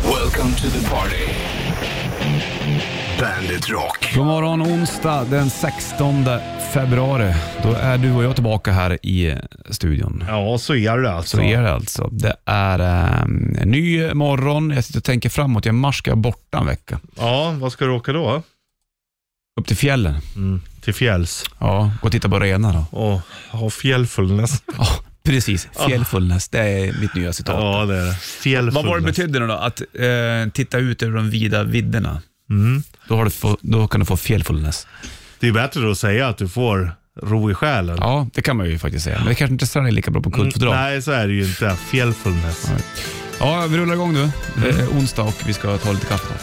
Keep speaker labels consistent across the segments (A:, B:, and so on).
A: Welcome to the party. Bandit Rock.
B: God morgon onsdag den 16 februari. Då är du och jag tillbaka här i studion.
C: Ja, så är det alltså.
B: Så är det alltså. Det är eh, en ny morgon. Jag sitter och tänker framåt. I mars ska jag borta en vecka.
C: Ja, vad ska du åka då?
B: Upp till fjällen.
C: Till fjälls.
B: Ja, gå och titta på renar då.
C: Och ha fjällfullness.
B: Ja, precis. Fjällfullness. Det är mitt nya citat.
C: Ja, det är det. Fjällfullness.
B: Vad var det betydde nu då? Att eh, titta ut över de vida vidderna. Då, har du få, då kan du få fjällfullness.
C: Det är bättre att säga att du får ro i själen.
B: Ja, Mm, det kan man ju faktiskt säga. Men det kanske inte stämmer lika bra på kuddfodral.
C: Nej, så är det ju inte. Fjällfullness.
B: Ja, vi rullar igång nu. Det är onsdag och vi ska ta lite kaffe. då.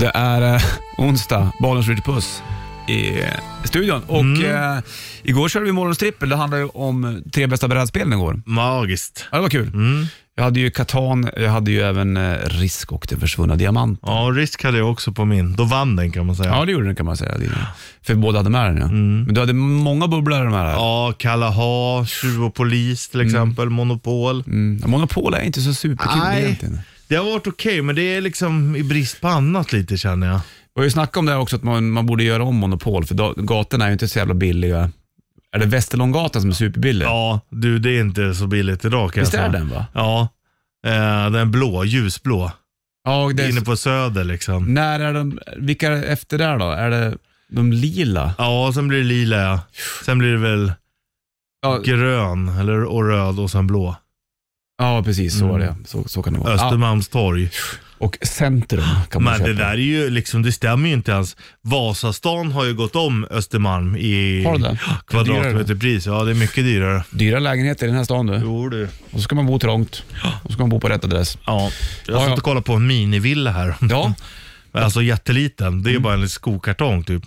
B: Det är eh, onsdag, Balens Ritchie Puss i eh, studion. Och
C: Mm.
B: eh, igår körde vi morgonstrippel. Det handlade ju om eh, tre bästa brädspelen igår.
C: Magiskt.
B: Ja, det var kul.
C: Mm.
B: Jag hade ju Catan, jag hade ju även eh, Risk och den försvunna diamanten.
C: Ja, risk hade jag också på min. Då vann den kan man säga.
B: Ja, det gjorde den kan man säga. Det- För båda hade med den ja. Men du hade många bubblor i de här.
C: Mm. Ja, Kalaha, Tjuv och Polis till exempel, Monopol.
B: Mm. Monopol är inte så superkul
C: Nej.
B: egentligen.
C: Det har varit okej, men det är liksom i brist på annat lite känner jag.
B: Vi har ju snackat om det här också, att man, man borde göra om Monopol, för da- gatorna är ju inte så jävla billiga. Är det Västerlånggatan som är superbillig?
C: Ja, du det är inte så billigt idag kan
B: Visst
C: jag säga.
B: är den va?
C: Ja, eh, den blå, ljusblå.
B: Ja, och det är,
C: Inne på söder liksom.
B: När är de, vilka är efter där då? Är det de lila?
C: Ja, sen blir det lila ja. Sen blir det väl
B: Ja,
C: grön eller, och röd och sen blå.
B: ja precis så var det
C: Mm.
B: så, så kan det vara. Ja,
C: Östermalmstorg.
B: och centrum kan man
C: Men det
B: köpa.
C: där är ju liksom, det stämmer ju inte ens. Vasastan har ju gått om Östermalm i
B: Har det? Det
C: Ja,
B: är
C: kvadratmeterpris. Ja, det är mycket dyrare.
B: Dyra lägenheter i den här stan du.
C: Jo du.
B: Och så ska man bo trångt. Och så ska man bo på rätt adress.
C: Ja. Jag
B: Ja,
C: satt
B: ja.
C: och kollade på en minivilla här.
B: Ja,
C: Alltså jätteliten. Det är
B: Mm.
C: bara en liten skokartong typ.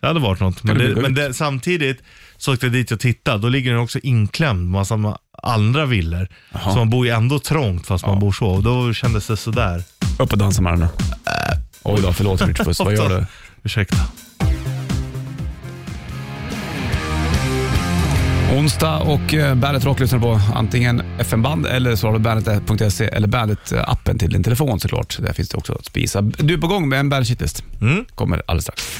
C: Det hade varit något. Men,
B: du
C: det,
B: bygga
C: men
B: ut?
C: det, samtidigt så åkte jag dit och tittade. Då ligger den också inklämd massa ma- andra villor. Så man bor ju ändå trångt fast man bor så. Och då kändes det sådär.
B: upp och dansa med den då. Oj då, förlåt Ritchfuss. Vad gör du?
C: Ursäkta.
B: Onsdag och eh, Bandet Rock lyssnar på antingen FM-band eller så har du bandet.se eller Bandet-appen till din telefon såklart. Där finns det också att spisa. Du är på gång med en Bandet Shitlist.
C: Mm.
B: Kommer alldeles strax.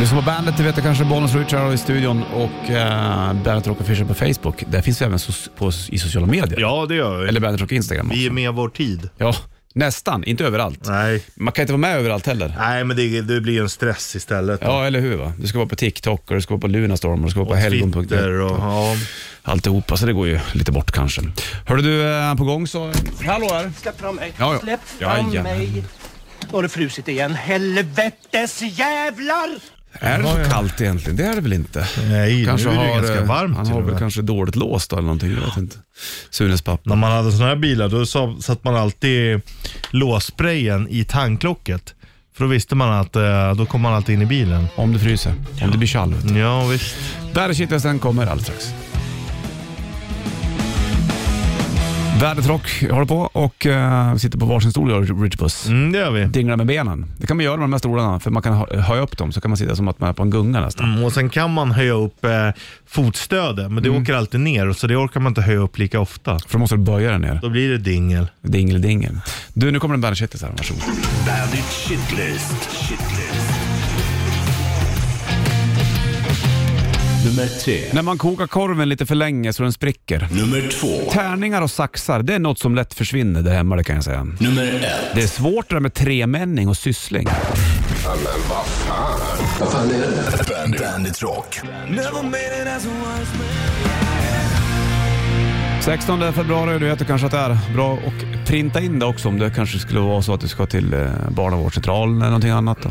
B: Lyssna på bandet, det vet du kanske, Bonus Richard i studion och eh, Bandet Rock Official på Facebook. Där finns vi även so- på, i sociala medier.
C: Ja, det gör vi.
B: Eller Bandet Rock Instagram.
C: Vi är med vår tid.
B: Ja, nästan, inte överallt.
C: Nej.
B: Man kan inte vara med överallt heller.
C: Nej, men det, det blir en stress istället.
B: Ja, eller hur? Va? Du ska vara på TikTok och du ska vara på Lunarstorm och du ska vara på
C: Och Twitter
B: helgon.net.
C: och ja.
B: Alltihopa, så det går ju lite bort kanske. Hörde du, är på gång så... Hallå här!
D: Släpp fram mig.
B: Ja, ja.
D: Släpp fram
B: Jajamän.
D: mig. Då har det frusit igen. Helvetes jävlar!
B: Är det så kallt egentligen? Det är det väl inte?
C: Nej, nu är det ju ganska
B: eh,
C: varmt.
B: Han
C: till
B: har
C: och
B: väl
C: med.
B: kanske dåligt låst då eller någonting. Jag vet inte. Sunes pappa.
C: När man hade sådana här bilar då sa- satt man alltid låssprayen i tanklocket. För då visste man att eh, då kom man alltid in i bilen.
B: Om det fryser. Om det blir kall. vet du.
C: Ja visst.
B: Där är kittelsen kommer alldeles strax. Värdet Rock håller på och eh, sitter på varsin stol jag och Richard Puss.
C: Mm, det gör vi.
B: dingla med benen. Det kan man göra med de här stolarna, för man kan hö- höja upp dem så kan man sitta som att man är på en gunga nästan.
C: Mm, Och sen kan man höja upp eh, fotstödet, men det åker alltid ner så det orkar man inte höja upp lika ofta.
B: För då måste du böja den ner.
C: Då blir det dingel.
B: Dingel, dingel. Du, nu kommer en bandshittis här. Varsågod.
A: Bandit Shitlist. Shitlist. Nummer tre.
B: När man kokar korven lite för länge så den spricker.
A: Nummer två.
B: Tärningar och saxar, det är något som lätt försvinner där hemma, det kan jag säga.
A: Nummer ett.
B: Det är svårt det där med tremänning och syssling.
A: Bandit, Bandit Rock.
B: 16 februari, du vet du kanske att det är. Bra och printa in det också om det kanske skulle vara så att du ska till eh, barnavårdscentralen eller någonting annat. Då.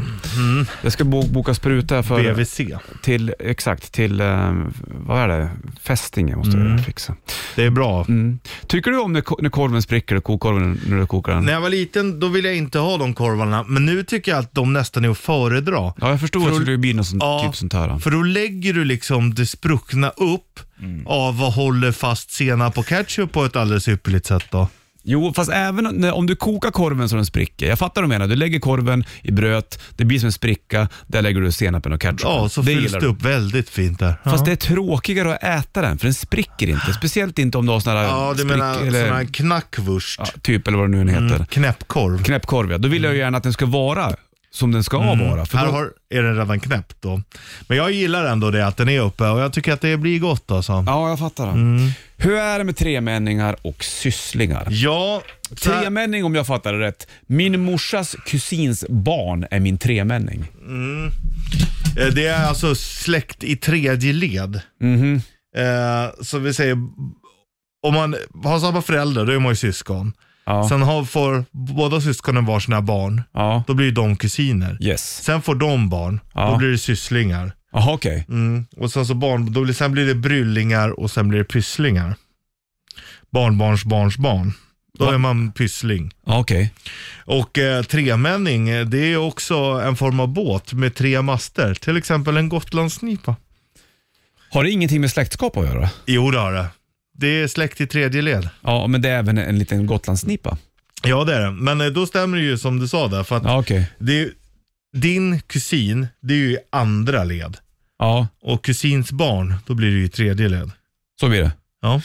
B: Jag ska bo- boka spruta här för...
C: BVC.
B: Till, exakt, till, eh, vad är det, fästinge måste
C: Mm.
B: jag fixa.
C: Det är bra.
B: Mm. Tycker du om när, ko- när korven spricker och kokkorven när du kokar den?
C: När jag var liten då ville jag inte ha de korvarna, men nu tycker jag att de nästan är att föredra.
B: Ja, jag förstår
C: För
B: att det
C: då-
B: skulle bli något sånt,
C: Ja,
B: typ sånt här.
C: För då lägger du liksom det
B: Mm.
C: spruckna upp av vad håller fast senap och ketchup på ett alldeles ypperligt sätt då.
B: Jo, fast även när, om du kokar korven så den spricker. Jag fattar vad du menar. Du lägger korven i bröt, det blir som en spricka. Där lägger du senapen och ketchupen.
C: Ja, så fylls
B: gillar
C: det
B: du.
C: upp väldigt fint där.
B: Fast det
C: ja.
B: är tråkigare att äta den, för den spricker inte. Speciellt inte om du har sån här
C: ja, du menar
B: sprick-
C: sån
B: eller,
C: här Mm. knackwurst,
B: ja, typ eller vad det nu heter.
C: knäppkorv.
B: Knäppkorv, ja. Då vill jag ju gärna att den ska vara som den ska vara. För
C: Mm. här
B: då,
C: har, är den redan knäppt då. Men jag gillar ändå det att den är uppe och jag tycker att det blir gott alltså. Ja,
B: Ja, jag fattar. Hur är det med tremänningar och sysslingar?
C: så här-
B: Tremänning om jag fattar det rätt. Min morsas kusins barn är min tremänning.
C: Eh, Det är alltså släkt i tredje led.
B: Mhm.
C: Eh, så vi säger, om man har samma föräldrar då är man ju syskon.
B: Ja.
C: Sen har, får båda syskonen var sina barn,
B: Ja.
C: då blir ju de kusiner.
B: Yes.
C: Sen får de barn,
B: Ja.
C: då blir det sysslingar.
B: Jaha, okej.
C: Mm. Och sen så barn, då blir, sen blir det bryllingar och sen blir det pysslingar. Barnbarns barns barn. Då
B: Va?
C: är man pyssling.
B: Ja, Okej.
C: Och eh, tremänning, eh, det är också en form av båt med tre master. Till exempel en gotlandsnipa.
B: Har det ingenting med släktskap att göra?
C: Jo det har det. Det är släkt i tredje led.
B: Ja, men det är även en liten gotlandsnipa.
C: Ja det är det. Men eh, då stämmer det ju som du sa där. För att
B: Ja, okej.
C: det är, ju- din kusin, det är ju i andra led.
B: Ja,
C: Och kusins barn, då blir det ju i tredje led.
B: så blir det.
C: Ja.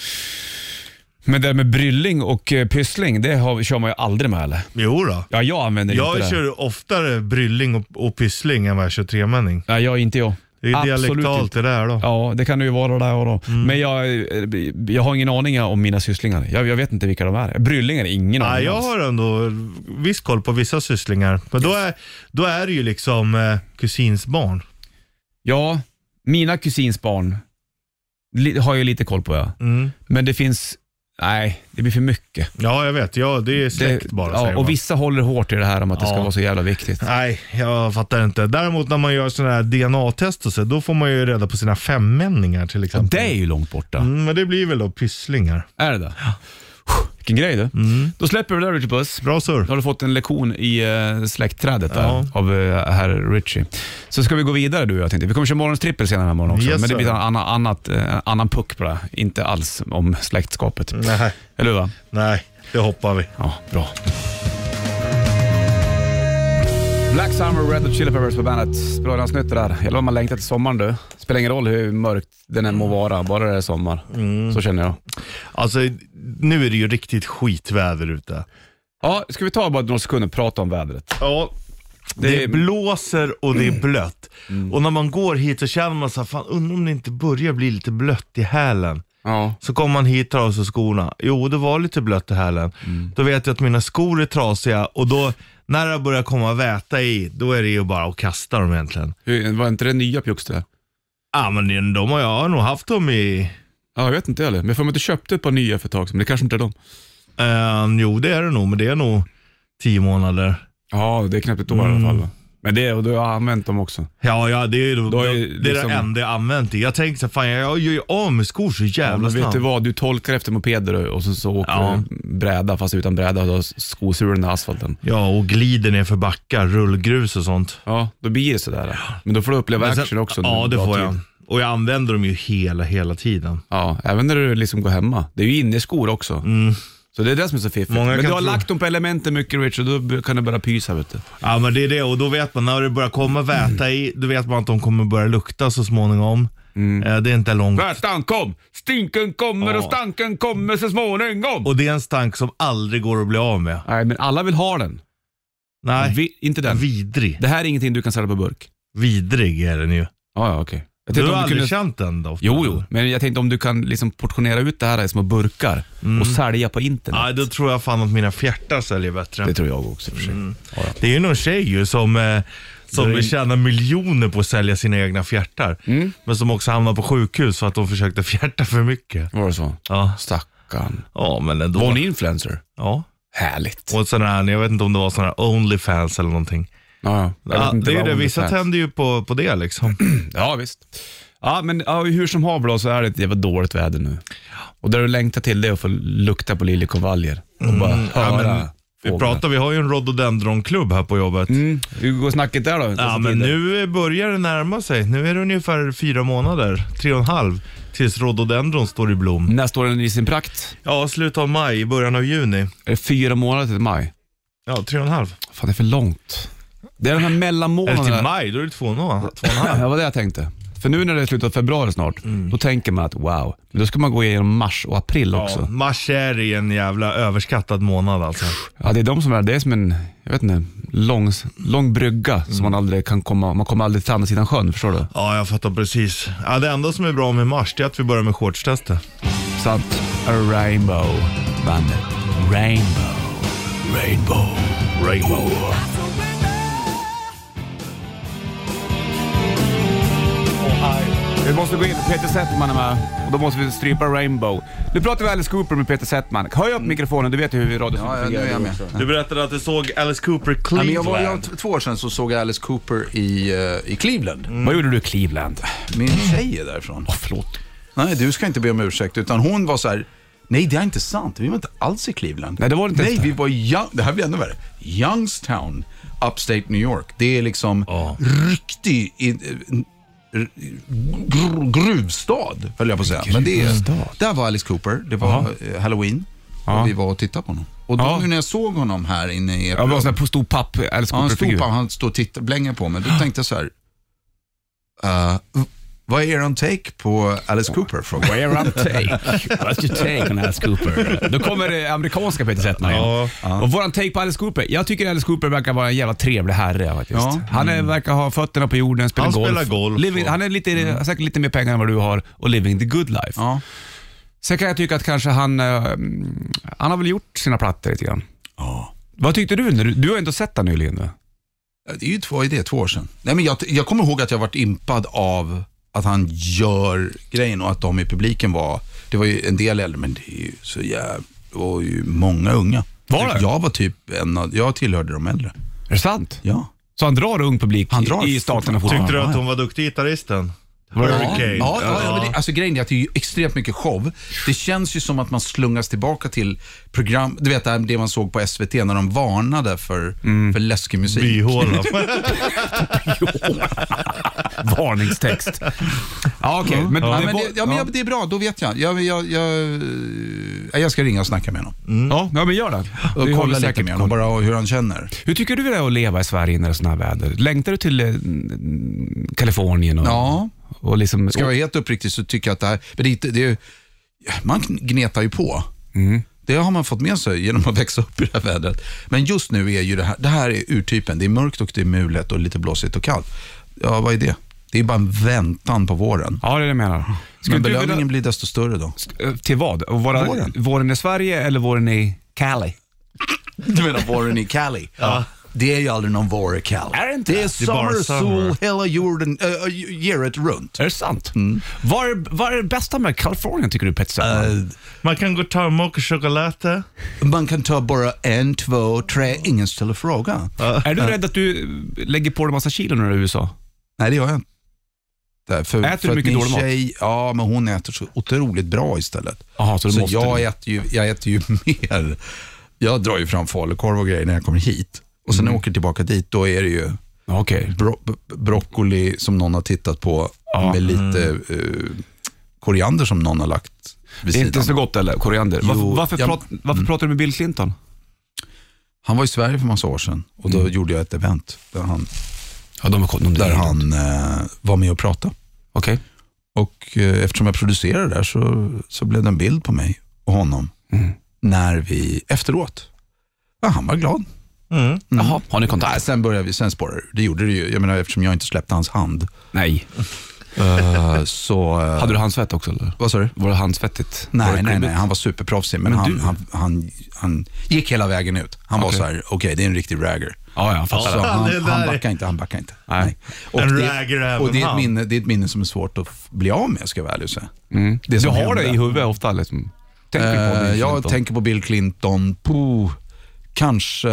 B: Men det där med brylling och eh, pyssling, det har, kör man ju aldrig med eller?
C: Jo då.
B: Ja, jag använder inte det.
C: Jag kör oftare brylling och, och pyssling än vad jag kör tremänning.
B: Nej, jag är inte jag.
C: Det är ju
B: Absolut
C: dialektalt
B: inte.
C: det där då.
B: Ja, det kan det ju vara där och då.
C: Mm.
B: Men jag, eh, jag har ingen aning om mina sysslingar. Jag, jag vet inte vilka de är. Bryllingar, ingen
C: Nej,
B: aning
C: jag
B: alls.
C: har ändå viss koll på vissa sysslingar. Men då är, då är det ju liksom eh, kusins barn.
B: Ja, mina kusins barn li, har jag lite koll på ja. Men det finns, nej, det blir för mycket.
C: Ja, jag vet. Ja, det är släkt
B: det,
C: bara
B: ja,
C: säger
B: Och
C: man.
B: vissa håller hårt i det här om att det ska
C: Ja.
B: vara så jävla viktigt.
C: Nej, jag fattar inte. Däremot när man gör sådana här DNA-test och så, då får man ju reda på sina femmänningar till
B: Ja,
C: exempel.
B: det är ju långt borta.
C: Mm, men det blir väl då pysslingar.
B: Är det det? Vilken grej du.
C: Mm.
B: Då släpper vi det där Richard Puss.
C: Bra surr.
B: Då har du fått en lektion i uh, släktträdet där,
C: Ja.
B: av eh, herr Richie. Så ska vi gå vidare du och jag tänkte. Vi kommer köra morgons trippel senare den här morgonen också.
C: Yes,
B: men det
C: sir.
B: blir en annan, annat, eh, annan puck på det. här. Inte alls om släktskapet.
C: Nej,
B: Eller hur? va?
C: nej, det hoppar vi.
B: Ja, bra. Black Summer, Red Hot Chili Peppers på bandet. Bra dansnytt det där. Jävlar vad man längtar till sommaren du. Spelar ingen roll hur mörkt den än må vara, bara det är sommar.
C: Mm.
B: Så känner jag.
C: Alltså, nu är det ju riktigt skitväder ute.
B: Ja, ska vi ta bara några sekunder och prata om vädret?
C: Ja. Det,
B: Det är-
C: blåser och det är blött. Och när man går hit så känner man så här, fan undrar om det inte börjar bli lite blött i hälen.
B: Ja.
C: Så kommer man hit, tar av sig skorna. Jo, det var lite blött i hälen.
B: Mm.
C: Då vet jag att mina skor är trasiga och då, när det börjar komma väta i, då är det ju bara att kasta dem egentligen.
B: Hur- Var inte det nya pjucks det?
C: Ja, men de har jag har nog haft dem i,
B: Ja, jag vet inte heller. Men jag får mig att du köpte ett par nya för ett tag sedan, men det kanske inte är dem.
C: ehm, jo det är det nog, men det är nog tio månader.
B: Ja, det är knappt ett år i alla fall. va? Men det, och du har använt dem också.
C: Ja, ja det är ju,
B: Då
C: det,
B: är ju liksom-
C: det enda jag använt i. Jag tänker så här, fan jag gör ju av med skor så
B: Ja,
C: jävla
B: men vet
C: snabbt.
B: du vad? Du tolkar efter mopeder och- och så, så åker
C: Ja.
B: du bräda, fast utan bräda, och då har skosulorna i asfalten.
C: Ja, och glider ner för backar, rullgrus och sånt.
B: Ja, då blir det sådär. Men då får du uppleva
C: Men sen-
B: action också. under
C: Ja, det
B: bra
C: får
B: tid.
C: jag. Och jag använder dem ju hela, hela tiden.
B: Ja, även när du liksom går hemma. Det är ju inne i skor också. Så det är det som är så fiffigt.
C: Många
B: men du
C: kan
B: har
C: tro-
B: lagt dem på elementen mycket Richard, då kan du börja pysa vet du.
C: Ja, men det är det. Och då vet man, när det börjar komma väta i, då vet man att de kommer börja lukta så småningom.
B: Mm.
C: Eh, Det är inte långt.
B: Vätan kom, stinken kommer
C: Ja.
B: och stanken kommer så småningom.
C: Och det är en stank som aldrig går att bli av med.
B: Nej, men alla vill ha den.
C: Nej,
B: Vi, inte den.
C: vidrig.
B: Det här är ingenting du kan sälja på burk.
C: Vidrig är den ju.
B: Ja, ja, okej. Jag
C: Du
B: tänkte
C: har
B: om du
C: aldrig
B: kunde...
C: känt den då?
B: Jo, jo, men jag tänkte om du kan liksom portionera ut det här i små burkar
C: Mm.
B: och sälja på internet.
C: Nej, då tror jag fan att mina fjärtar säljer bättre.
B: Det tror jag också i och för sig.
C: Mm.
B: Ja, ja.
C: Det är ju någon tjej ju som, eh, som
B: Det- Mm.
C: tjänar miljoner på att sälja sina egna fjärtar. Men som också hamnar på sjukhus för att de försökte fjärta för mycket.
B: Var det så?
C: Ja,
B: Stackarn.
C: ja men ändå.
B: Var hon influencer?
C: Ja.
B: Härligt.
C: Och sån här, jag vet inte om det var sån här Onlyfans eller någonting.
B: Ja, ja. Jag vet
C: Ja,
B: inte
C: det är ju
B: vad
C: det,
B: hon
C: vissa
B: fan-
C: tänder ju på, på det liksom.
B: Ja, visst. Ja, men ja, hur som haver då så är det ett jävla dåligt väder nu. Och det du längtar till det är att få lukta på liljekonvaljer och bara höra
C: Mm. men- Vi pratar, vi har ju en rhododendronklubb här på jobbet.
B: Mm. Alltså, Hur går snacket där då?
C: Ja, men nu börjar det närma sig. Nu är det ungefär fyra månader, tre och en halv, tills rhododendron står i blom.
B: När står den i sin prakt?
C: Ja, slutet av maj, i början av juni.
B: Är det fyra månader till maj?
C: Ja, tre och en halv.
B: Fan, det är för långt. Det är de här
C: Eller
B: mellanmånaderna.
C: till maj, då är det två och en halv. Två och en halv.
B: Ja, det var det jag tänkte. För nu när det är slutet av februari snart, då tänker man att wow, men då ska man gå igenom mars och april
C: Mm. Ja,
B: också.
C: mars är en jävla överskattad månad alltså.
B: Ja, det är de som är, det är som en, jag vet inte, lång, lång brygga
C: Mm.
B: som man aldrig kan komma, man kommer aldrig till andra sidan sjön, förstår du?
C: Ja, jag fattar precis. Ja, det enda som är bra med mars, det är att vi börjar med shortstester.
B: Sant. A rainbow. Bandet. Rainbow. Rainbow. Rainbow. Vi måste gå in för Peter Settman är med och då måste vi strypa Rainbow. Nu pratar vi Alice Cooper med Peter Settman. Höj upp mikrofonen, du vet ju hur vi radio
E: Ja, ja, nu är jag med.
C: Du berättade att du såg Alice Cooper
E: Nej,
C: Cleveland.
E: men jag var, jag, två år sedan så såg jag Alice Cooper i, eh, i Cleveland.
B: Vad gjorde du i Cleveland?
E: Min tjej är därifrån. Oh, förlåt. Nej, du ska inte be om ursäkt. Utan hon var så här, nej det är inte sant. Vi var inte alls i Cleveland.
B: Nej, det var det inte
E: Nej,
B: ens
E: vi var i Young, det här blir ännu värre. Youngstown, Upstate New York. Det är liksom riktig i, eh, r- gr, gruvstad, höll jag på att säga. Men det är, där var Alice Cooper, det var eh, Halloween.
B: Ja.
E: Och vi var och tittade på honom. Och då
B: Ja.
E: nu när jag såg honom här inne i...
B: Jag var en sån här stor papp Alice
E: Ja, han
B: Cooper-figur.
E: stod på, han står och tittar, blänger på mig. Då tänkte jag så här. eh, v- vad är er take på Alice Cooper? Frågade jag.
B: Where I'm take. What's your take on Alice Cooper? Då kommer det amerikanska Peter Settman igen. Och våran take på Alice Cooper. Jag tycker Alice Cooper verkar vara en jävla trevlig herre faktiskt.
E: Ja. Mm.
B: Han är, verkar ha fötterna på jorden, spelar
C: Han
B: golf.
C: spelar golf
B: living,
C: och-
B: han är lite, säkert lite mer pengar än vad du har och living the good life.
E: Mm. Ja.
B: Sen kan jag tycka att kanske han, eh, han har väl gjort sina plattor lite grann.
E: Ja.
B: Vad tyckte du? när Du, du har ju inte sett han nyligen va?
E: Det är ju två, det är två år sedan. Nej, men jag, jag kommer ihåg att jag varit impad av att han gör grejen och att de i publiken var, det var ju en del äldre, men det är ju så jävla, det var ju många unga.
B: Var det?
E: Jag var typ en av, jag tillhörde de äldre.
B: Är det sant?
E: Ja.
B: Så han drar ung publik
E: Han drar
B: i staterna
E: fortfarande.
B: fortfarande?
C: Tyckte du att hon var duktig gitarristen?
E: Ja,
C: Hurricane.
E: ja, ja, ja. Men det, alltså grejen är att det är ju extremt mycket show. Det känns ju som att man slungas tillbaka till program, du vet det här- det man såg på SVT när de varnade för, för läskig musik.
C: Byhåla.
B: Varningstext. Ja, okej. Men,
E: Ja,
B: det
E: men
B: var-
E: det, ja, men jag, det är bra, då vet jag. Jag, jag, jag, eh, jag ska ringa och snacka med honom.
B: Ja, Mm. ja men gör det.
E: Och
B: Vi håller
E: kolla Mm. lite
B: säkert
E: med
B: koll.
E: honom, bara hur han känner.
B: Hur tycker du det är att leva i Sverige när det är sådana här väder? Längtar du till eh, mm, Kalifornien? Och,
E: Ja.
B: och liksom,
E: Ska jag vara helt uppriktig så tycker jag att det här, men det, är inte- det, är ju- man gnetar ju på. Det har man fått med sig genom att växa upp i det här vädret. Men just nu är ju det här, det här är urtypen. Det är mörkt och det är mulet och lite blåsigt och kallt. Ja, vad är det? Det är bara en väntan på våren.
B: Ja, det är det jag menar. Skulle
E: Men
B: inte du
E: belöningen
B: vilja,
E: blir desto större då.
B: eh, till vad? Och Vara, våren.
E: Våren.
B: i Sverige eller våren i Cali?
E: Du menar våren i Cali? Ja. Det är ju aldrig någon vår i Cali.
B: Är det inte?
E: Det är
C: är bara
E: summer, sol,
C: summer.
E: hela jorden, äh, året runt.
B: Är det sant? Vad är, vad är det bästa med Kalifornien tycker du Petter? Settman?
C: Man kan gå och ta en mocha chocolate.
E: Man kan ta bara en, två, tre, ingen ställer frågan.
B: Är du rädd att du lägger på dig massa kilo när du är i USA?
E: Nej, det gör jag inte. För, för
B: Äter du
E: att
B: mycket
E: min
B: dålig mat?
E: tjej, Ja, men hon äter så otroligt bra istället.
B: Jaha, så du måste
E: jag,
B: det.
E: äter ju, jag äter ju mer. Jag drar ju fram falukorv och grejer när jag kommer hit. Och sen när jag
B: Mm.
E: åker tillbaka dit, då är det ju
B: Ja, Okej.
E: bro, b- broccoli som någon har tittat på med lite eh, koriander som någon har lagt vid
B: mm. Det är inte
E: sidan.
B: så gott eller? Koriander. varför, varför,
E: jag-
B: prat, varför pratar du med Bill Clinton?
E: Han var i Sverige för massa år sedan och då
B: Mm.
E: gjorde jag ett event där han,
B: Ja, de har
E: där han eh, var med och pratade.
B: Okej.
E: Och eh, eftersom jag producerade där så, så blev det en bild på mig och honom
B: Mm.
E: när vi efteråt. Ja, han var glad.
B: Jaha, har ni kontakt?
E: Nej, sen började vi, sen spårade det. Det gjorde det ju. Jag menar eftersom jag inte släppte hans hand.
B: Nej.
E: eh, så... eh,
B: Hade du handsvett också eller?
E: Vad sa du?
B: Var det handsvettigt? Var det
E: Nej, nej,
B: klubbigt?
E: nej. Han var superproffsig. Men, han,
B: du-
E: han, han, han gick hela vägen ut. Han var
B: Okej.
E: så här, okej det är en riktig ragger.
B: Ja, ja, jag fattar.
E: Så
B: det.
E: han,
C: det där
E: han
C: är-
E: backar inte, han backar inte.
B: Nej.
E: Och
C: En
E: det-
C: ragger även
E: Och det är, ett
C: han.
E: minne, det är ett minne som är svårt att f- bli av med, ska jag vara ärlig och säga. Det
B: Du
E: som
B: har det
E: hände.
B: i huvudet ofta liksom? Tänker på
E: Eh,
B: det
E: jag
B: Clinton.
E: tänker på Bill Clinton på kanske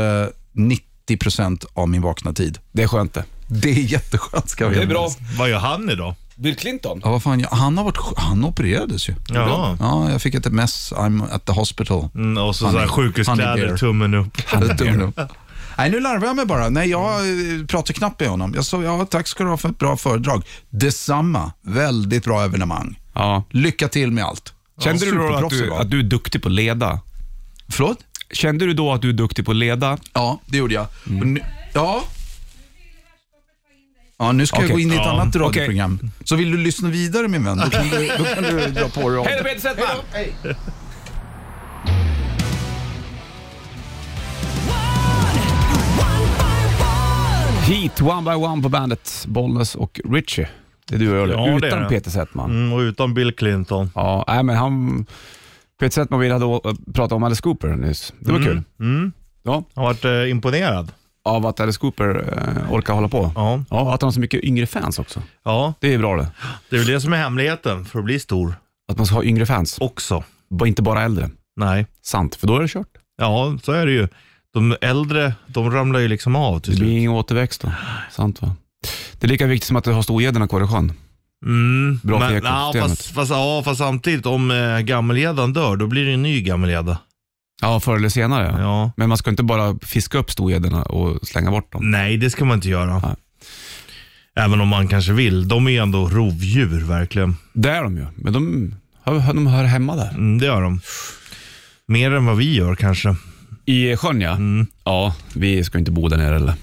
E: 90% av min vakna tid.
B: Det är skönt det.
E: Det är jätteskönt ska jag
B: Det är
E: veta.
B: bra.
C: Vad gör han idag?
B: Bill Clinton?
E: Ja, vad fan, jag- han, har varit, sj- han opererades ju.
C: Ja.
E: Ja, jag fick ett mess, I'm at the hospital.
C: Mm, och så,
E: Han
C: så
E: är-
C: här
E: han är bear.
C: sjukhuskläder, tummen upp.
E: Tummen upp. Nej, nu larvar jag mig bara. Nej, jag eh, pratar knappt med honom. Jag sa, ja, tack ska du ha för ett bra föredrag. Detsamma. Väldigt bra evenemang.
B: Ja.
E: Lycka till med allt.
B: Kände du då att
E: Superproffsig
B: du,
E: var.
B: att du är duktig på att leda?
E: Förlåt?
B: Kände du då att du är duktig på att leda?
E: Ja, det gjorde jag.
B: Mm.
E: Och nu, ja. Ja, nu ska jag
B: Okej.
E: gå in i ett annat
B: Okej.
E: radioprogram. Så vill du lyssna vidare min vän, då kan du, då kan du dra på dig
B: Hej då Peter Settman! Heat, one by one på bandet. Bollnäs och Richie. Det är du och jag
C: Ja, det är
B: Utan
C: det.
B: Peter Settman.
C: Mm, och utan Bill Clinton.
B: Ja, nej, men han... Peter Settman ville hade å- prata om Alice Cooper nyss. Det var kul. Ja,
C: Han vart eh, imponerad.
B: av att Alice Cooper eh, orkar hålla på.
C: Ja.
B: Ja, och att han har så mycket yngre fans också.
C: ja,
B: Det är bra det.
C: det är väl det som är hemligheten för att bli stor
B: Att man ska ha yngre fans,
C: också.
B: och inte bara äldre.
C: Nej,
B: Sant, för då är det kört.
C: ja så är det ju. De äldre, de ramlar ju liksom av till
B: Det blir
C: slut.
B: ingen återväxt då. Sant va? Det är lika viktigt som att du har storgäddorna kvar i sjön.
C: Mm,
B: Bra för
C: men, ja,
B: ekosystemet.
C: fast, fast, ja, fast samtidigt, om eh, gammelgäddan dör, då blir det en ny gammelgädda.
B: Ja, förr eller senare.
C: Ja.
B: Men man ska inte bara fiska upp storgäddorna och slänga bort dem.
C: Nej, det ska man inte göra.
B: Nej.
C: Även om man kanske vill. De är ju ändå rovdjur, verkligen.
B: Det är de ju, men de hör, de hör hemma där.
C: Mm, det gör de. Mer än vad vi gör kanske.
B: I sjön ja.
C: Mm.
B: Ja, vi ska inte bo där nere eller.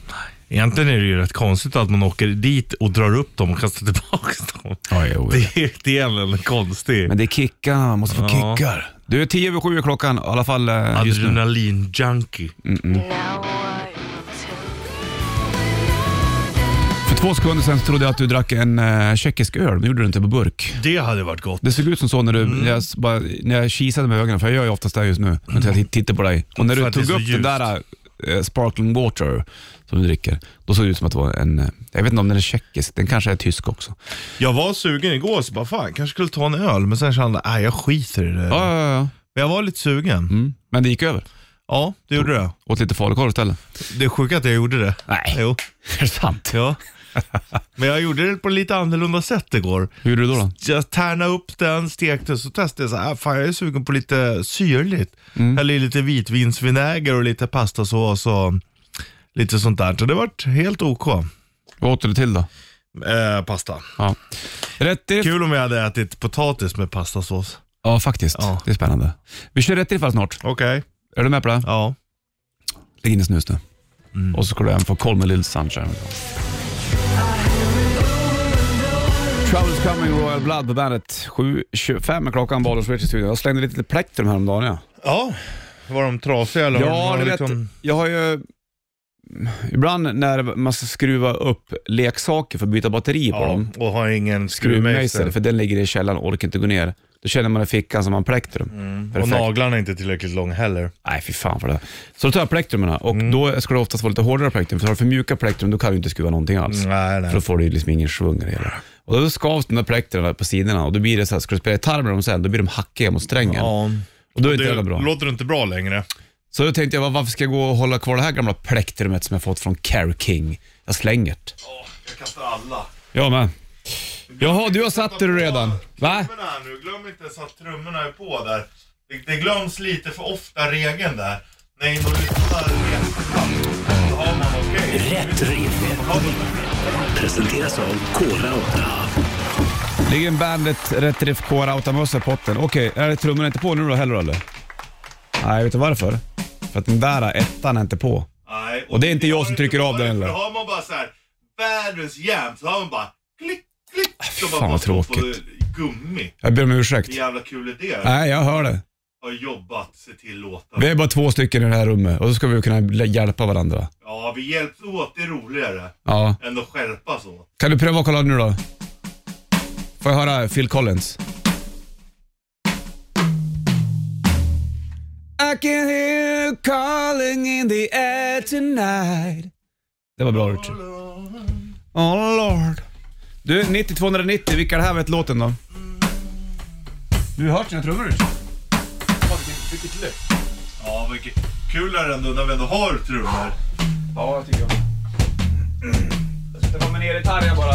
C: Egentligen är det ju rätt konstigt att man åker dit och drar upp dem och kastar tillbaka dem.
B: Ja, jo, jo.
C: Det är, det är en konstig
B: Men det är kickarna, man måste få
C: Ja.
B: kickar. Du, är tio över sju är klockan i alla fall eh, just nu.
C: adrenalin-junkie.
F: Now what to
B: För två sekunder sedan trodde jag att du drack en eh, tjeckisk öl, men det gjorde du inte på burk.
C: Det hade varit gott.
B: Det såg ut som så när, du, när, jag, s- bara, när jag kisade med ögonen, för jag gör ju oftast det just nu, när jag t- tittar på dig. Och när
C: För
B: du
C: att det är
B: tog
C: så
B: upp den
C: ljust.
B: där eh, sparkling water som du dricker, då såg det ut som att det var en, eh, jag vet inte om den är tjeckisk, den kanske är tysk också.
C: Jag var sugen igår, så bara fan, kanske skulle ta en öl. Men sen kände jag, nej jag skiter i det.
B: Ja, ja, ja, ja.
C: Men jag var lite sugen.
B: Mm. Men det gick över.
C: Ja, det gjorde det.
B: Åt lite falukorv istället.
C: Det är sjukt att jag gjorde det.
B: Nej.
C: Jo.
B: Är det sant?
C: Ja. Men jag gjorde det på lite annorlunda sätt igår.
B: Hur gjorde du då? då?
C: Jag tärnade upp den, stekte, så testade jag så här, "Ah, fan jag är sugen på lite syrligt. Hällde i lite vitvinsvinäger och lite pastasås och lite sånt där. Så det vart helt OK.
B: Vad åt du till då?
C: Eh, pasta.
B: Ja. Rätt i...
C: Kul om jag hade ätit potatis med pastasås.
B: Ja, faktiskt.
C: Ja.
B: Det är spännande. Vi kör rätt i fall snart.
C: Okej.
B: Är du med på det?
C: Ja.
B: Lägg in en snus nu.
C: Mm.
B: Och så ska du även få koll med Little Sunshine. Troubles coming, Royal Blood på bandet. 7.25 är klockan, Bollnäs Rich i studion. Jag slängde lite plektrum häromdagen. Ja,
C: Ja, var de trasiga eller?
B: ja
C: var
B: du
C: de liksom-
B: vet, jag har ju... Ibland när man ska skruva upp leksaker för att byta batteri på
C: Ja,
B: dem,
C: och har ingen
B: skruvmejsel,
C: skruvmejsel.
B: för den ligger i källaren och orkar inte gå ner. Då känner man i fickan som man plektrum.
C: Mm. Och
B: Perfekt.
C: naglarna är inte tillräckligt långa heller.
B: Nej, fy fan för det. Så då tar jag plektrumen och
C: Mm.
B: då ska det oftast vara lite hårdare plektrum. För har du för mjuka plektrum, då kan du inte skruva någonting alls.
C: Nej,
B: För då
C: nej.
B: får du ju liksom ingen svung i det hela. Och då skavs de där plektrarna på sidorna och då blir det så här, ska du spela gitarr med dem sen, då blir de hackiga mot strängen.
C: Ja.
B: Och då är det inte
C: Det
B: jävla bra.
C: låter inte bra längre.
B: Så då tänkte jag, va- varför ska jag gå och hålla kvar det här gamla plektrumet som jag fått från Care King? Jag slänger det.
C: Jag kastar alla.
B: Jag med. Jaha, du har satt dig redan. Va?
C: Trummorna här nu, glöm inte så att trummorna är på där. Det, det glöms lite för ofta regeln där. Nej, då lyssnar rätt. Då har man okej.
A: Rätt riff. Presenteras av Kora 8.
B: Ligger en Bandet Rätt Riff K-Rautamössa i potten. Okej, är det trummorna inte på nu då heller eller? Nej, vet du varför? För att den där ettan är inte på.
C: Nej,
B: Och det är inte jag
C: har
B: som trycker av den heller.
C: Då har man bara såhär, världens jämt, så har man bara klick, klick. Så
B: Äh, fan,
C: bara
B: vad
C: står på
B: tråkigt. Äh.
C: Gummi.
B: Jag ber om ursäkt.
C: Hur jävla kul är det?
B: Nej, jag hör det.
C: Har jobbat sig till låtarna.
B: Vi är bara två stycken i det här rummet och då ska vi kunna lä- hjälpa varandra.
C: Ja, vi hjälps åt, det är roligare.
B: Ja.
C: Än att skärpas åt.
B: Kan du pröva att kolla nu då? Får jag höra Phil Collins? I can hear you calling in the air tonight. Det var bra Richard. Oh lord. Du, 9290, vilka är det här vet låten då? Du har hört sina trummor Richard?
C: Ja, men k- kul är det ändå när vi ändå har trummor.
B: Ja, jag tycker jag. Jag sätter på mig ner gitarren bara.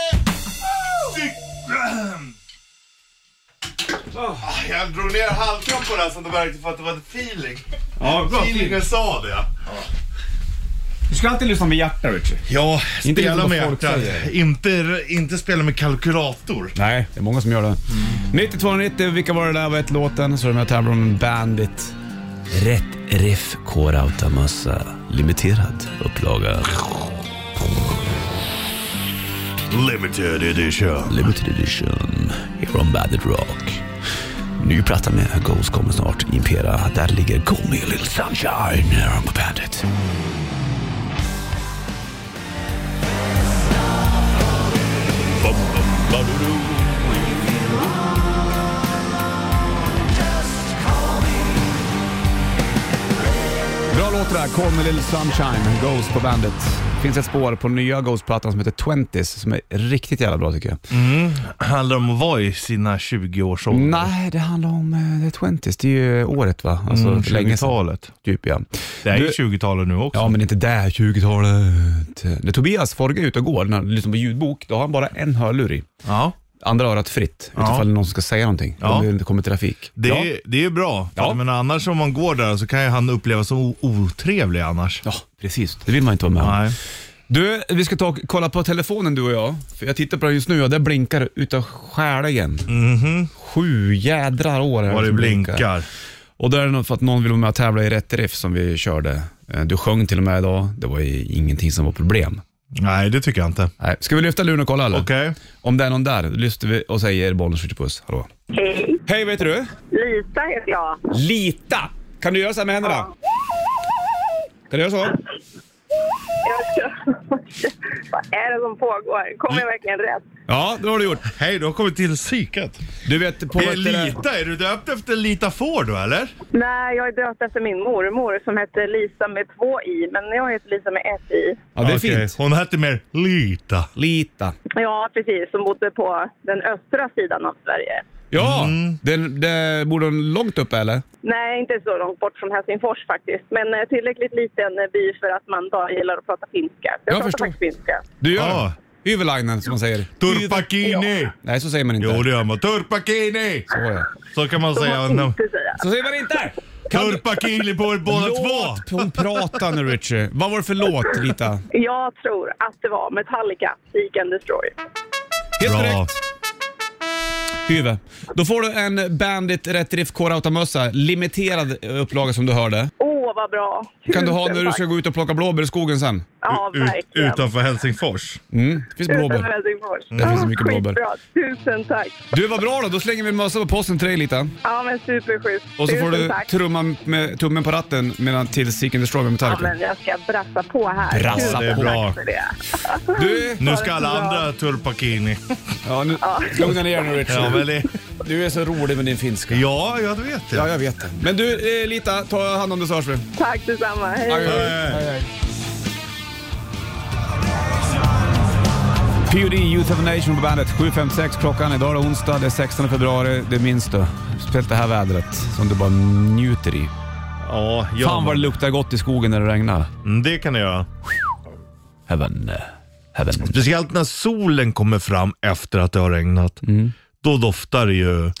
C: han Ah, drog ner halkan på den så att det verkade för att det var ett feeling.
G: Ja, bra.
C: Feelingen sa det.
G: Du ska alltid lyssna med hjärtat, Richie.
C: Ja,
B: Inte
C: spela
B: riktigt
C: med
B: vad folk
C: hjärtat.
B: säger.
C: Inte, inte spela med kalkylator.
B: Nej, det är många som gör det. 9290, vilka var det där? Vad hette låten? Så är det med och tävlar om Bandit. Rätt riff, K-Rautamössa. Limiterad upplaga.
C: Limited edition.
B: Limited edition. Från Bandit Rock. Ny platta med Ghost kommer snart. Impera. Där ligger Call Me A Little Sunshine här på Bandit. Bra låt det där, Call Me A Little Sunshine, Ghost på bandet. finns ett spår på nya Ghost-plattan som heter 20s som är riktigt jävla bra tycker jag.
C: Handlar om att vara i sina 20 års ålder.
B: Nej, det handlar om eh, The 20s. Det är ju året va? Alltså
C: Mm,
B: för länge sedan.
C: 20-talet.
B: Typ ja.
C: Det är ju
B: Du-
C: 20-talet nu också.
B: Ja, men inte där 20-talet. När Tobias Forge är ute och går, när han lyssnar på ljudbok, då har han bara en hörlur i.
C: Ja.
B: Andra örat fritt,
C: Ja.
B: utifall det är någon som ska säga någonting.
C: Ja.
B: Om det inte kommer trafik.
C: Det,
B: ja.
C: är, det är bra.
B: Ja.
C: Ja. Men annars om man går där så kan ju han upplevas som o- otrevlig annars.
B: ja, precis. Det vill man inte vara med om.
C: Nej.
B: Du, vi ska ta och kolla på telefonen du och jag. För jag tittar på den just nu och där blinkar det utav skäligen. Sju jädrar år är
C: Mhm. Vad det
B: som
C: blinkar.
B: Och då är det nog för att någon vill vara med och tävla i rätt riff som vi körde. Eh, Du sjöng till och med idag. Det var ju ingenting som var problem.
C: Nej, det tycker jag inte.
B: Nej. Ska vi lyfta luren och kolla eller?
C: Okej.
B: Om det är någon där, lyfter vi och säger Bollnäs Puss. Hallå.
H: Hej,
B: Hej, vad heter du?
H: Lisa heter jag.
B: Lita. Kan du göra så här med händerna? Kan du göra så?
H: jag Vad är det som pågår? Kommer jag verkligen rätt?
B: Ja, det har du gjort.
C: Hej, du har kommit till psyket.
B: Du vet på... vad
C: Är
B: heter det?
C: Lita, är du döpt efter Lita Ford då eller?
H: Nej, jag är döpt efter min mormor som hette Lisa med två i, men jag heter Lisa med ett i.
B: Ja, det är
C: Okej.
B: fint.
C: Hon hette mer Lita.
B: Lita.
H: Ja, precis, som bodde på den östra sidan av Sverige.
B: Ja,
C: Mm.
B: den, den, bor den långt uppe eller?
H: Nej, inte så långt bort från Helsingfors faktiskt, men eh, tillräckligt liten eh, by för att man bara gillar att prata finska. Så
B: Jag
H: jag, pratar
B: förstår.
H: faktiskt finska.
B: Du gör
C: Ja.
B: det. Yverlainen som man säger.
C: Turpakini!
B: Nej, så säger man inte.
C: Jo, det gör man. Turpakini!
B: Så, ja.
C: Så kan man
H: Det
C: säga.
H: får man inte säga.
B: så säger man inte! Kan du-
C: Turpakini på er båda två!
B: Låt hon prata nu Richie. Vad var det för låt Lita?
H: Jag tror att det var Metallica, Seek and Destroy.
B: Helt
C: Bra.
B: korrekt. Hyve. Då får du en Bandit Rätt Riff K-Rautamössa. Limiterad eh, upplaga som du hörde.
H: Åh, vad bra!
B: Kan du ha
H: Tusen
B: när du ska
H: tack.
B: gå ut och plocka blåbär i skogen sen?
H: Ja,
C: Ut,
H: verkligen.
C: utanför Helsingfors.
B: Mm, det finns blåbär.
H: Helsingfors.
B: Mm, Det finns så mycket blåbär.
H: Skitbra. Tusen tack.
B: Du, vad bra då. Då slänger vi en mössa på posten till dig Lita.
H: Ja, men superschysst.
B: Och så får
H: Tusen
B: du
H: tack.
B: trumma med tummen på ratten medan till Seek and Destroy med
H: Ja,
B: Metallica.
H: men jag ska brassa på här.
B: Brassa
H: Tusen
B: på.
C: Det är bra.
H: Tack för det.
B: Du,
C: Nu ska alla andra turpakini.
B: ja, nu, lugna ner nu
C: Ja,
B: Richard.
C: men det,
B: Du är så rolig med din finska.
C: ja, jag vet det.
B: Ja, jag vet det. Men du, eh, Lita, ta hand om det så hörs vi.
H: Tack detsamma. Hej.
B: Aj, aj, aj, aj. PUD, Youth of a Nation på bandet. 7.56 klockan. Idag är det onsdag, det är 16 februari. Det minns du. Speciellt det här vädret som du bara njuter i.
C: Ja, ja.
B: Fan vad det luktar gott i skogen när det regnar.
C: Mm, Det kan jag göra.
B: Heaven. eh, Heaven.
C: Speciellt när solen kommer fram efter att det har regnat.
B: Mm.
C: Då doftar det ju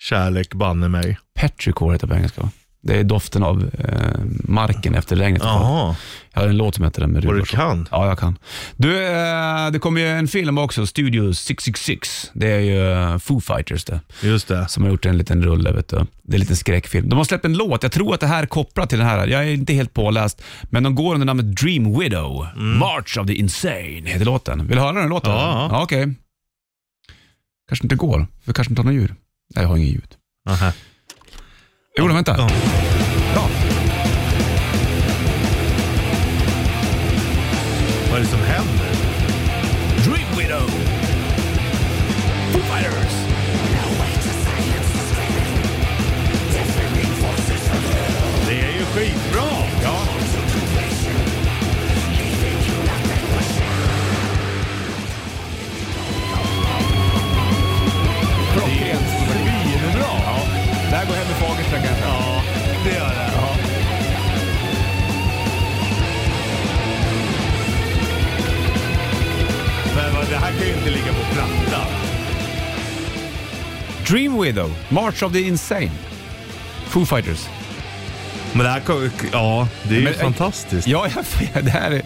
C: kärlek banne mig.
B: Petrichor heter det på engelska. va? Det är doften av eh, marken efter regnet.
C: Jaha,
B: Jag har en låt som heter den med
C: vad du
B: Rudolf.
C: kan.
B: Ja, jag kan. Du, eh, det kommer ju en film också, Studio 666. Det är ju eh, Foo Fighters det.
C: Just det.
B: som har gjort en liten rulle. Vet du. Det är en liten skräckfilm. De har släppt en låt, jag tror att det här är kopplat till den här. Jag är inte helt påläst, men de går under namnet Dream Widow. March of the Insane heter låten. Vill du höra den låten?
C: Mm. Ja.
B: ja Okej. Kanske inte går, för kanske inte har något ljud. Nej, jag har inget ljud.
C: Aha.
B: Jo, då, vänta.
C: Ja.
B: Bra.
C: Vad är det som händer?
A: Dream Widow. Foo Fighters.
C: Det är ju skitbra! Ja. Svinbra! Ja.
B: Det här går hem i Fagersta kanske.
C: ja, det gör det. Men vad, det här kan ju inte ligga på plattan.
B: Dream Widow, March of the Insane. Foo Fighters.
C: Men det här, kom- ja, det är ju
B: Men- eh,
C: fantastiskt.
B: Ja, jag, det här är...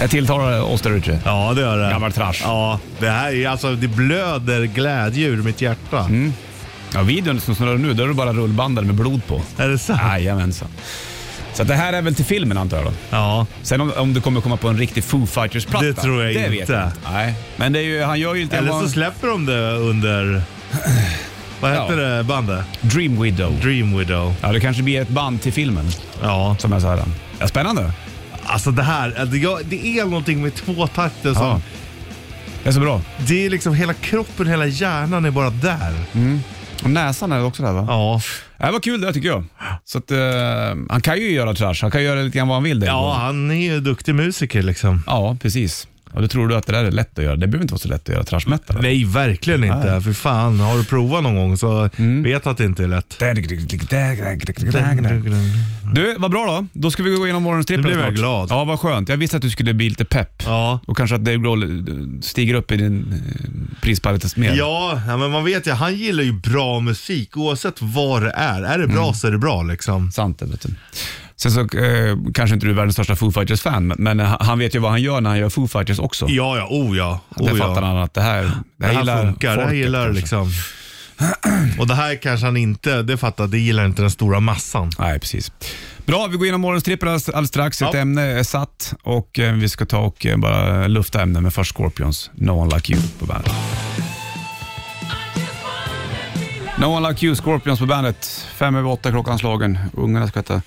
B: Jag tilltalar oss där ute.
C: Ja, det gör det.
B: Gammal trash.
C: Ja, det här är alltså, det blöder glädje ur mitt hjärta.
B: Mm. Ja, videon som snurrar nu, där är det bara rullbandare med blod på.
C: Är det sant?
B: Jajamensan. Så att det här är väl till filmen antar jag då.
C: Ja.
B: Sen om, om du kommer komma på en riktig Foo Fighters-platta.
C: Det tror jag
B: det Vet
C: inte.
B: jag inte. Nej. Men det är ju, han gör ju inte...
C: Eller
B: han
C: så
B: var-
C: släpper de det under, vad heter det bandet?
B: Dream Widow.
C: Dream Widow.
B: Ja, det kanske blir ett band till filmen
C: Ja.
B: som är så här. Ja, spännande.
C: Alltså det här, alltså jag- det är någonting med tvåtakten som...
B: Ja. Det är så bra.
C: Det är liksom hela kroppen, hela hjärnan är bara där.
B: Och näsan är också där va?
C: Ja.
B: Ja, Det var kul det tycker jag. Så att, eh, han kan ju göra trash. Han kan göra lite grann vad han vill. Dave
C: ja,
B: Grohl.
C: han är ju duktig musiker liksom.
B: ja, precis. Och då tror du att det där är lätt att göra. Det behöver inte vara så lätt att göra trash metal.
C: Nej, verkligen inte. För fan, har du provat någon gång så
B: Mm.
C: vet att det inte är lätt.
B: Du, vad bra då. Då ska vi gå igenom morgonens trippel
C: Nu blev
B: snart.
C: jag glad.
B: Ja, vad skönt. Jag visste att du skulle bli lite pepp.
C: Ja.
B: Och kanske att Dave Grohl eh, stiger upp i din eh, prispall lite mer.
C: Ja, ja, men man vet ju, han gillar ju bra musik oavsett vad det är. Är det bra så är det bra liksom.
B: Sant det, vet du. Sen så eh, kanske inte du är världens största Foo Fighters-fan, men, men eh, han vet ju vad han gör när han gör Foo Fighters också.
C: Ja, ja, oh ja.
B: Där
C: Oh,
B: fattar
C: ja.
B: han att det här, det
C: Det
B: här,
C: här
B: gillar
C: funkar, det
B: folket
C: här
B: alltså.
C: gillar
B: kanske.
C: liksom. Och det här kanske han inte, det fattar det gillar inte den stora massan.
B: Nej, precis. Bra, vi går igenom morgonens trippel alldeles, alldeles strax. Ett
C: Ja.
B: ämne är satt och eh, vi ska ta och eh, bara lufta ämnen med först Scorpions No One Like You på bandet. No One Like You, Scorpions på bandet. Fem över åtta klockan slagen. Ungarna ska äta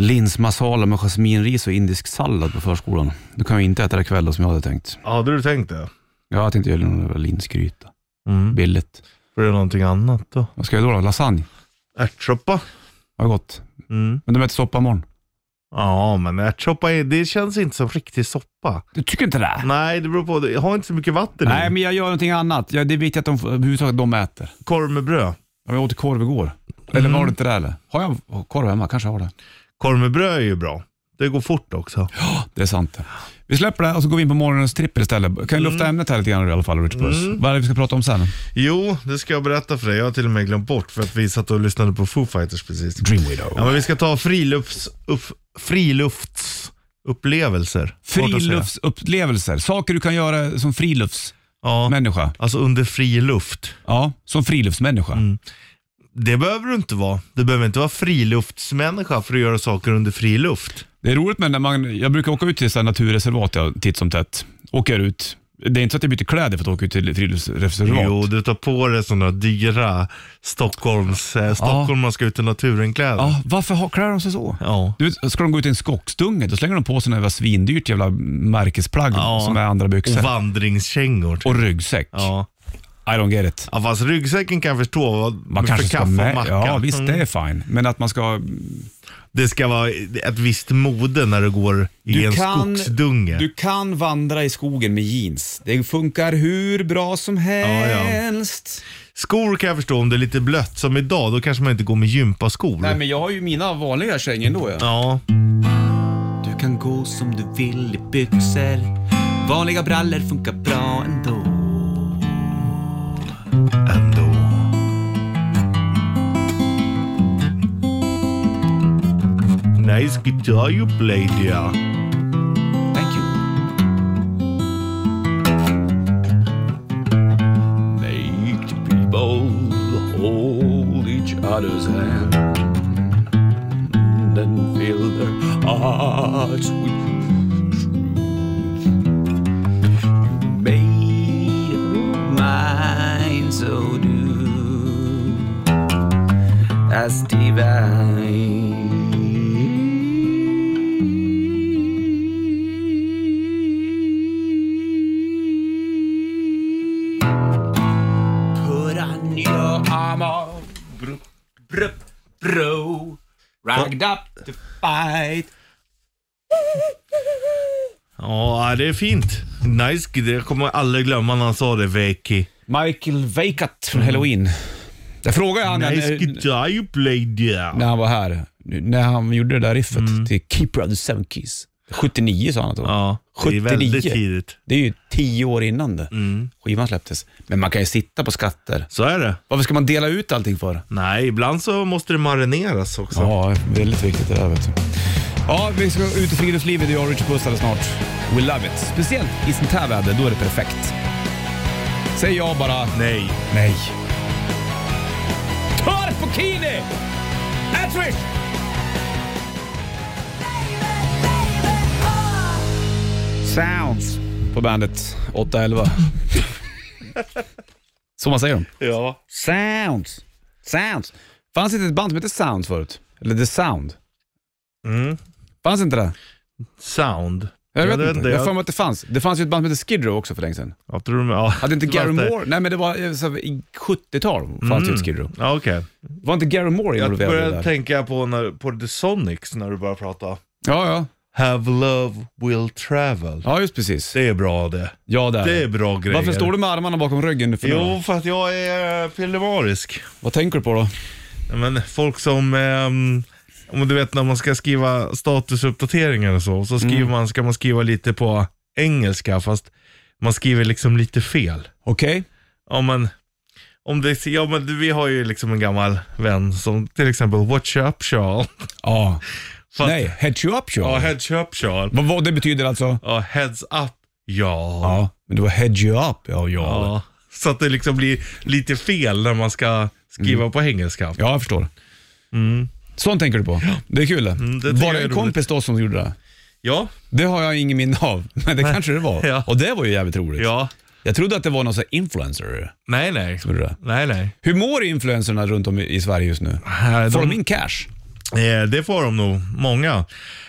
B: linsmasala med jasminris och indisk sallad på förskolan. Du kan ju inte äta det ikväll då, som jag hade tänkt.
C: Ja, hade du tänkt det?
B: Jag tänkte göra någon linsgryta.
C: Mm.
B: Billigt.
C: För det är någonting annat då?
B: Vad ska jag då? då? Lasagne?
C: Ärtsoppa?
B: Har gott.
C: Mm.
B: Men de äter soppa imorgon.
C: Ja, men ärtsoppa är, det känns inte som riktig soppa.
B: Du tycker inte det?
C: Nej, det beror på. det- Ha inte så mycket vatten
B: Nej,
C: i.
B: men jag gör någonting annat. Ja, det är viktigt att de, huvudsaken att de äter.
C: Korv med bröd.
B: Ja, Jag åt korv igår. Eller var det inte det eller? Har jag korv hemma? Kanske har det.
C: Korv med bröd är ju bra. Det går fort också.
B: Det är sant det. Vi släpper det och så går vi in på morgonens trippel istället. Kan vi lufta ämnet här lite grann i alla fall, Rich Puss? Vad är det vi ska prata om sen?
C: Jo, det ska jag berätta för dig. Jag har till och med glömt bort för att vi satt och lyssnade på Foo Fighters precis.
B: Dream Widow.
C: Ja, men vi ska ta frilufts, upp, friluftsupplevelser. Svårt att säga.
B: Friluftsupplevelser. Saker du kan göra som friluftsmänniska.
C: Ja, alltså under fri luft.
B: Ja, som friluftsmänniska.
C: Det behöver du inte vara. Du behöver inte vara friluftsmänniska för att göra saker under fri luft.
B: Det är roligt men när man, jag brukar åka ut till så här naturreservat jag, titt som tätt. Åker ut. Det är inte så att jag byter kläder för att åka ut till friluftsreservat.
C: Jo, du tar på dig sådana dyra Stockholms, eh, Stockholm man ska ut i naturen-kläder.
B: Ja, varför har- klär de sig så?
C: Ja.
B: Du vet, ska de gå ut i en skogsdunge, då slänger de på sig något jävla svindyrt jävla märkesplagg
C: Ja.
B: som är andra byxor.
C: Och
B: Och,
C: vandringskängor. typ.
B: ryggsäck.
C: Ja.
B: I don't get it.
C: ja, fast ryggsäcken kan jag förstå. vad-
B: Man
C: för
B: kanske ska
C: kaffe och
B: med.
C: macka.
B: Ja, visst
C: Mm.
B: det är fine. Men att man ska...
C: Det ska vara ett visst mode när du går i en skogsdunge.
B: du kan vandra i skogen med jeans. Det funkar hur bra som helst.
C: Skor kan jag förstå om det är lite blött som idag, då kanske man inte går med gympaskor.
B: Nej, men jag har ju mina vanliga kängor ändå. Ja.
C: Ja,
I: Du kan gå som du vill i byxor Vanliga brallor funkar bra ändå
C: ändå. Nice guitar you play dear.
I: Thank you
A: Make the people hold each other's hand and fill their hearts with truth. You made
I: Mine so du As divine Put on your armor Bro, bro, bro Ragged up to fight
C: Ja, det är fint. Nice guitar. Jag kommer aldrig glömma när han sa det, Veki.
B: Michael Veikat från Halloween. Mm. Jag frågade han
C: Nice
B: när,
C: guitar you play dear.
B: Mm. när han var här, när han gjorde det där riffet till Keeper of the Seven Keys. 79 sa han att det var.
C: Ja, det är väldigt
B: 79.
C: tidigt.
B: Det är ju tio år innan det. skivan släpptes. Men man kan ju sitta på skatter.
C: Så är det.
B: Varför ska man dela ut allting för?
C: Nej, ibland så måste det marineras också.
B: Ja, väldigt viktigt det där vet du. Ja, vi ska ut i friluftslivet, jag och Richard Puss alldeles snart. We love it. Speciellt i sånt här väder, då är det perfekt. Säger jag bara
C: Nej.
B: nej. Torpokini! Attrish! Sounds på bandet 811. Så man säger dem.
C: Ja.
B: Sounds. Sounds. Fanns inte ett band som hette Sound förut? Eller The Sound?
C: Mm.
B: Fanns inte det?
C: Sound.
B: Jag vet
C: det
B: inte. Jag har för
C: Jag,
B: mig att det fanns. Det fanns ju ett band som hette Skid Row också för länge sedan.
C: jag tror de... Ja.
B: Hade inte Gary
C: Fast det-
B: Moore... Nej men det var eh, så här i 70-tal fanns ju ett Skid Row.
C: Ja, okej.
B: Var inte Gary Moore
C: Jag
B: involverad i det
C: började
B: där?
C: tänka på, när, på The Sonics när du började prata.
B: Ja, ja.
C: Have love will travel.
B: Ja, just precis.
C: Det är bra det.
B: Ja, där.
C: Det är bra grejer.
B: Varför står du med armarna bakom ryggen nu för
C: Jo,
B: några?
C: för att jag är eh, pillemarisk.
B: Vad tänker du på då?
C: Ja, Men folk som, ehm, om du vet när man ska skriva statusuppdateringar och så, så skriver
B: Mm.
C: man, ska man skriva lite på engelska fast man skriver liksom lite fel.
B: Okej?
C: Ja men, om det, ja, men du, vi har ju liksom en gammal vän som till exempel Watch up Charles.
B: Ja.
C: Fast-
B: Nej, Heads You Up Show.
C: Ja, heads up Charles.
B: vad, vad det betyder alltså?
C: Ja, heads up ja.
B: Ja, men det var Heads You Up. Ja, ja. Ja,
C: ja. Så att det liksom blir lite fel när man ska skriva på engelska.
B: jag förstår. Sånt tänker du på. Det är kul det.
C: Mm. det tycker
B: var
C: jag
B: det
C: är
B: en
C: roligt.
B: kompis då som gjorde det?
C: Ja,
B: Det har jag ingen minne av, men det kanske det var.
C: Ja.
B: Och det var ju jävligt roligt.
C: ja.
B: Jag trodde att det var någon sån här influencer.
C: Nej, nej.
B: som gjorde det.
C: Nej, nej.
B: Hur mår influencerna runt om i- i Sverige just nu?
C: Äh,
B: Får
C: de-
B: de in cash?
C: Eh, Det får de nog, många.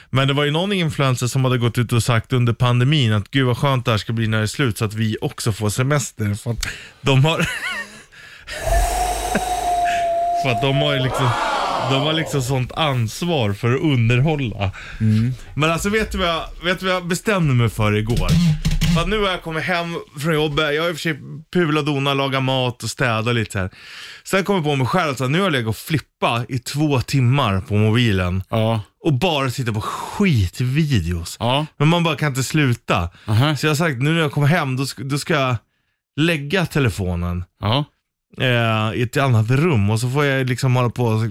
C: Men det var ju någon influencer som hade gått ut och sagt under pandemin att gud vad skönt det här ska bli när det är slut så att vi också får semester. För att de har... för att de har ju liksom... De har liksom sånt ansvar för att underhålla. Men alltså vet du, vad jag, vet du vad jag bestämde mig för igår? För att nu har jag kommit hem från jobbet, jag har i och för sig pulat och donat, lagat mat och städat lite här. Sen kom jag på mig själv att nu har jag legat och flippat i två timmar på mobilen
B: Ja.
C: och bara titta på skitvideos.
B: Ja.
C: Men man bara kan inte sluta.
B: Aha.
C: Så jag har sagt nu när jag kommer hem, då ska, då ska jag lägga telefonen
B: Ja.
C: eh, i ett annat rum och så får jag liksom hålla på och,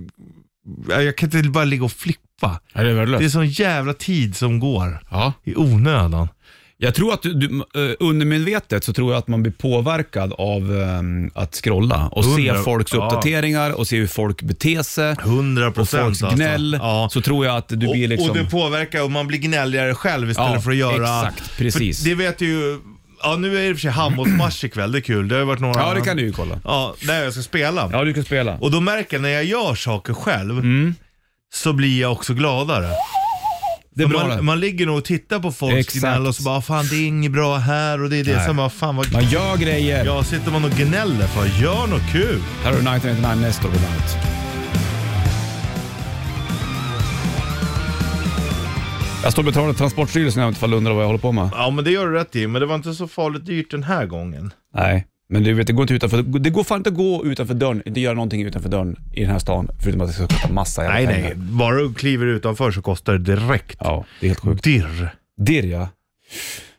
C: jag kan inte bara ligga och flippa.
B: Är det
C: Det är
B: värdelöst?
C: sån jävla tid som går
B: Ja.
C: i onödan.
B: Jag tror att du, du, eh, undermedvetet så tror jag att man blir påverkad av ehm, att scrolla och se
C: Hundra-
B: folks
C: ja.
B: uppdateringar och se hur folk beter sig
C: 100
B: och
C: procent alltså.
B: folks gnäll.
C: Ja.
B: Så tror jag att du
C: och,
B: blir liksom...
C: och det påverkar och man blir gnälligare själv istället
B: Ja,
C: för att göra...
B: exakt, precis.
C: För det vet ju... Ja, nu är det i och för sig handbollsmatch ikväll, det är kul. Det har ju varit några...
B: ja, det kan du ju kolla.
C: Ja, där jag ska spela.
B: Ja, Mm. du kan spela.
C: Och då märker jag när jag gör saker själv, så blir jag också gladare.
B: det är bra det.
C: man, man ligger nog och tittar på folks
B: Exakt.
C: gnäll och så bara, fan det är inget bra här och det är det.
B: Nej.
C: Sen bara, fan vad...
B: Man gör grejer.
C: Ja, sitter man och gnäller för, gör något kul.
B: Här har du 1999 Nestor på bandet. Jag står och betalar Transportstyrelsen om du undrar vad jag håller på med.
C: Ja, men det gör du rätt i, men det var inte så farligt dyrt den här gången.
B: Nej, men du vet, det går inte utanför. Det går fan inte att gå utanför dörren, inte göra någonting utanför dörren i den här stan, förutom att det ska kosta massa jävla
C: Nej,
B: pengar.
C: nej. Bara du kliver utanför så kostar det direkt.
B: Ja, det är helt sjukt.
C: Dirr.
B: Dirr ja.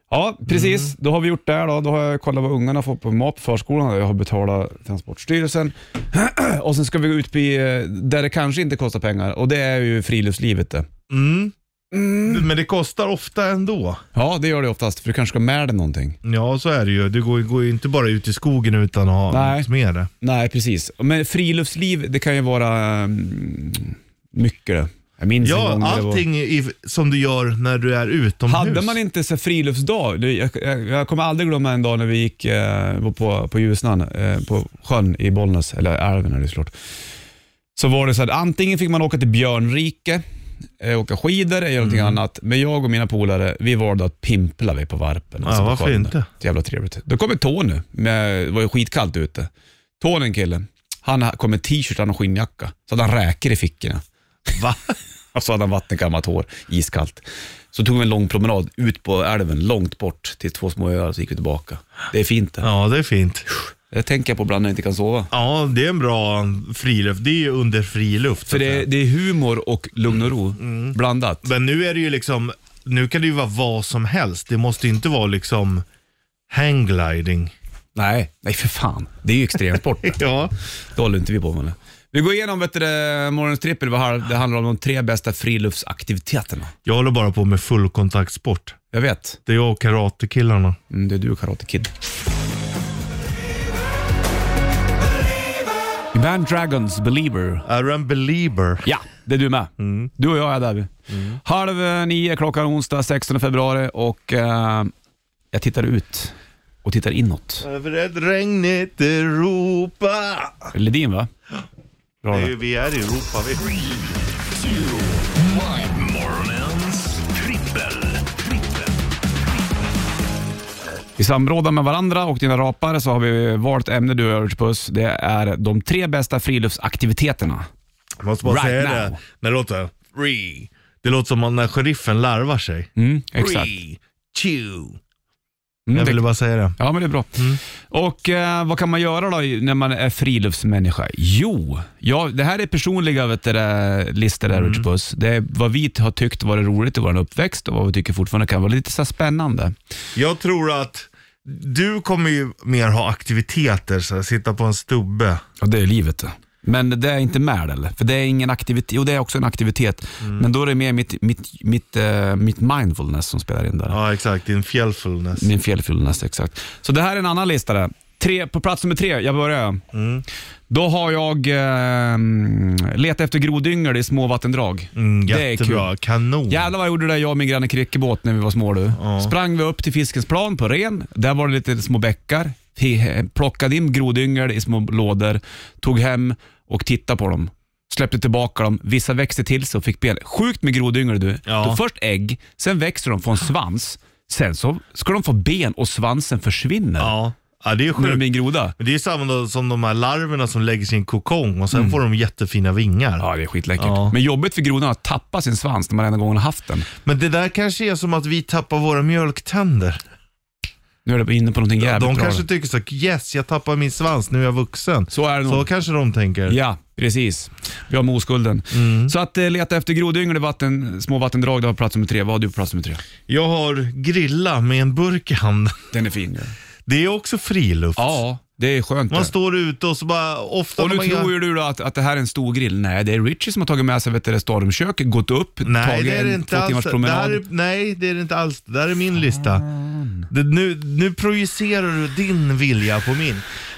B: Ja, precis.
C: Mm.
B: Då har vi gjort det här då. Då har jag kollat vad ungarna får på mat på förskolan. Jag har betalat Transportstyrelsen. och sen ska vi gå ut på, eh, där det kanske inte kostar pengar och det är ju friluftslivet det.
C: Mm. Men det kostar ofta ändå.
B: Ja, det gör det oftast, för du kanske ska med dig någonting.
C: Ja, så är det ju. Du går, går ju inte bara ut i skogen utan att ha
B: Nej.
C: något med dig.
B: Nej, precis. Men friluftsliv, det kan ju vara mm, mycket det. Jag minns en
C: Ja,
B: gång när det var...
C: allting i, som du gör när du är utomhus.
B: Hade man inte så här friluftsdag, det- jag, jag, jag kommer aldrig glömma en dag när vi gick eh, var på, på Ljusnan, eh, på sjön i Bollnäs, eller älven är det såklart. Så var det så att antingen fick man åka till Björnrike, eh, åka skidor eller någonting
C: Mm.
B: annat. Men jag och mina polare, vi valde att pimpla vi på Varpen.
C: Ja, varför inte?
B: Så jävla trevligt. Då kommer Tony, med, det var ju skitkallt ute. Tony, en kille, han ha- kom med t-shirt och en skinnjacka, så hade han räkor i fickorna.
C: Va?
B: Och så hade han vattenkammat hår, iskallt. Så tog vi en lång promenad ut på älven, långt bort till två små öar, så gick vi tillbaka. Det är fint det.
C: Ja, det är fint.
B: Det tänker jag på ibland när jag inte kan sova.
C: Ja, det är en bra friluft. Det är ju under friluft. så
B: För
C: att
B: det
C: säga.
B: Mm. är, det är humor och lugn och ro blandat.
C: Men nu är det ju liksom nu kan det ju vara vad som helst. Det måste ju inte vara liksom hanggliding.
B: Nej, nej för fan. Det är ju extremsport.
C: Ja.
B: det håller inte vi på med. nu. Vi går igenom vet du, det, morgonens trippel. vad har- Det handlar om de tre bästa friluftsaktiviteterna.
C: Jag håller bara på med fullkontaktsport.
B: Jag vet.
C: Det är jag och karatekillarna.
B: Mm, det är du och Karate Kid. Band Dragons Believer.
C: Är du en belieber?
B: Ja, det är du med. Du och jag är där. Mm. Halv eh, nio klockan onsdag 16 februari och eh, jag tittar ut och tittar inåt.
C: Över ett regnigt Europa.
B: Ledin va?
C: Det är ju, vi är i Europa vi.
B: I samråd med varandra och dina rapar så har vi valt ämne du och jag, Richard Puss. Det är de tre bästa friluftsaktiviteterna.
C: Jag måste bara
B: Right
C: säga
B: now.
C: det. När det låter free. Det låter som när sheriffen larvar sig.
B: Mm, exakt.
C: Free, chew.
B: Mm,
C: Jag ville
B: det,
C: bara säga det.
B: ja, men det är bra. Och eh, vad kan man göra då i- när man är friluftsmänniska? Jo, ja, det här är personliga vet du, det, listor där Richard Puss. Det är vad vi har tyckt varit roligt i vår uppväxt och vad vi tycker fortfarande kan vara lite så här spännande.
C: Jag tror att du kommer ju mer ha aktiviteter, så här, sitta på en stubbe.
B: Ja, det är livet det. Men det är inte med eller? För det är ingen aktivitet. Jo, det är också en aktivitet. Men då är det mer mitt, mitt, mitt, eh, mitt mindfulness som spelar in där.
C: Ja, exakt. Din fjällfulness.
B: Min fjällfyllness, exakt. Så det här är en annan lista där. Tre, på plats nummer tre, jag börjar.
C: Mm.
B: Då har jag eh, letat efter grodyngel i små vattendrag.
C: Mm,
B: det är kul.
C: jättebra. Kanon.
B: Jävlar vad jag gjorde det jag och min granne Krickebåt när vi var små du. Sprang vi upp till fiskens plan på ren. Där var det lite små bäckar. He- Plockade in grodyngel i små lådor. Tog hem och tittade på dem. Släppte tillbaka dem. Vissa växte till sig och fick ben. Sjukt med grodyngel du.
C: Ja.
B: Då först ägg, sen växer de, får en svans. Sen så ska de få ben och svansen försvinner.
C: Ja. ja, det är
B: När de
C: sjukt.
B: blir en groda.
C: Men det är ju samma då som de här larverna som lägger sin kokong och sen får de jättefina vingar.
B: Mm. Ja, det är skitläckert.
C: Ja.
B: Men jobbigt för grodan att tappa sin svans när man en gång har haft den.
C: Men det där kanske är som att vi tappar våra mjölktänder.
B: Nu är du inne på någonting jävligt
C: de
B: bra.
C: kanske
B: där.
C: tycker så yes jag tappar min svans, nu är jag vuxen.
B: Så är det nog.
C: Så kanske de tänker.
B: Ja, precis. Vi har med oskulden.
C: Mm.
B: Så att eh, leta efter grodyngel i vatten, små vattendrag, det var plats nummer tre. Vad har du på plats nummer tre?
C: Jag har grilla med en burk i handen.
B: Den är fin. Ja,
C: Det är också friluft.
B: ja det är skönt
C: Man
B: det.
C: står ute och så bara ofta
B: Och nu
C: när man
B: tror ju du då att, att det här är en stor grill. Nej, det är Richie som har tagit med sig vet du, det stormköket, gått upp,
C: Nej
B: tagit
C: det är det
B: en
C: inte
B: två timmars
C: alls. Det här
B: promenad.
C: är, nej det är det inte alls. Det där är min lista. Det, nu, nu projicerar du din vilja på min.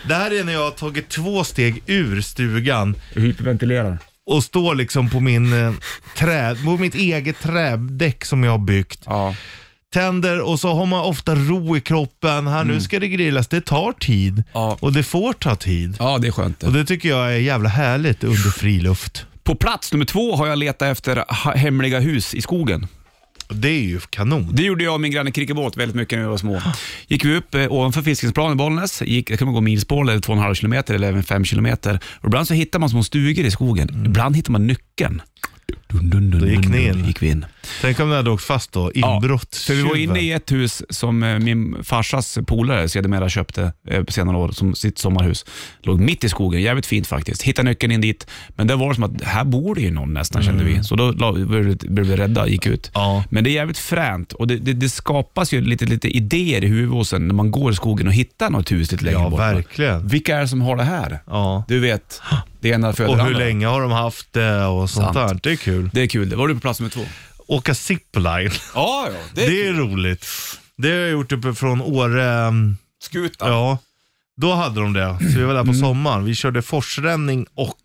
C: Det här är när jag har tagit två steg ur stugan
B: Hyperventilerar.
C: och står liksom på min eh, trä, på mitt eget trädäck som jag har byggt.
B: Ja.
C: Tänder och så har man ofta ro i kroppen. Här nu ska det grillas. Det tar tid
B: Mm. Ja.
C: och det får ta tid.
B: ja, det är skönt det.
C: Och det tycker jag är jävla härligt under friluft.
B: På plats nummer två har jag letat efter ha- hemliga hus i skogen.
C: Och Det är ju kanon.
B: Det gjorde jag och min granne Krickebåt väldigt mycket när vi var små. Gick vi upp eh, ovanför Fiskingsplan i Bollnäs, gick, det kan man gå milspår eller 2,5 kilometer eller även 5 kilometer. Och ibland så hittar man små stugor i skogen. Ibland hittar man nyckeln. Dun, dun, dun,
C: Då gick
B: dun,
C: ni
B: dun,
C: in.
B: gick vi in.
C: Tänk om det hade åkt fast då. Inbrott.
B: För vi var inne i ett hus som eh, min farsas polare sedermera köpte eh, på senare år som sitt sommarhus. Låg mitt i skogen, jävligt fint faktiskt. Hittade nyckeln in dit, men det var som att här bor det ju någon nästan kände vi. Så då la- blev vi- blev vi rädda och gick ut.
C: Mm. Ja.
B: Men det är jävligt fränt och det, det, det skapas ju lite, lite idéer i huvudet hos en när man går i skogen och hittar något hus lite längre
C: Ja,
B: bort.
C: verkligen.
B: Vilka är det som har det här?
C: Ja.
B: Du vet, det ena föder
C: Och
B: det
C: hur
B: andra.
C: länge har de haft det och sånt
B: Sant.
C: där. Det är kul.
B: Det är kul. Var du på plats nummer två?
C: Åka zipline.
B: Ja, ja. Det är
C: Det är roligt. Det har jag gjort uppe från Åre. ehm,
B: skutan.
C: Ja, då hade de det. Så vi var där på sommaren. Vi körde forsränning och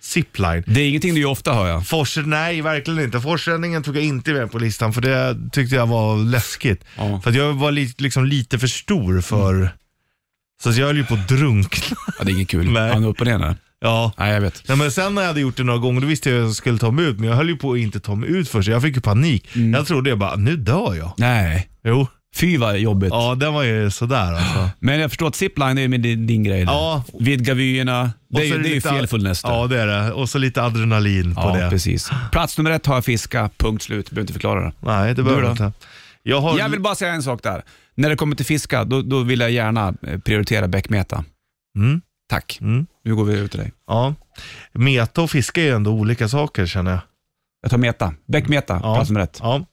C: zipline.
B: Det är ingenting du gör ofta hör jag.
C: Fors, nej, verkligen inte. Forsränningen tog jag inte med på listan för det tyckte jag var läskigt.
B: Ja.
C: För att jag var li, liksom lite för stor för... Så att jag höll ju på att drunkna.
B: Ja, det är inget kul.
C: Nej.
B: Han är upp och ner nu.
C: Ja.
B: Nej, jag vet.
C: Nej, men sen när jag hade gjort det några gånger, då visste jag att jag skulle ta mig ut. Men jag höll ju på att inte ta mig ut först. Jag fick ju panik. Jag trodde jag bara, nu dör jag.
B: Nej.
C: Jo.
B: Fy vad jobbigt.
C: Ja, den var ju sådär alltså.
B: Men jag förstår att zipline är med din, din grej. där.
C: Ja.
B: Vidga vyerna. Det
C: Och
B: är,
C: så
B: ju- det är ju
C: lite-
B: felfull nästa.
C: Ja, det är det. Och så lite adrenalin på
B: Ja,
C: det.
B: precis. Plats nummer ett har jag fiska, punkt slut. Behöver inte förklara det.
C: Nej, det behöver
B: Du
C: jag
B: då?
C: inte. Jag har...
B: Jag vill bara säga en sak där. När det kommer till fiska, då, då vill jag gärna eh, prioritera bäckmeta.
C: Mm,
B: Tack.
C: Mm.
B: Nu går vi över till dig.
C: ja. Meta och fiska är ju ändå olika saker känner jag.
B: Jag tar meta. Bäckmeta,
C: Ja.
B: plats nummer ett.
C: Ja.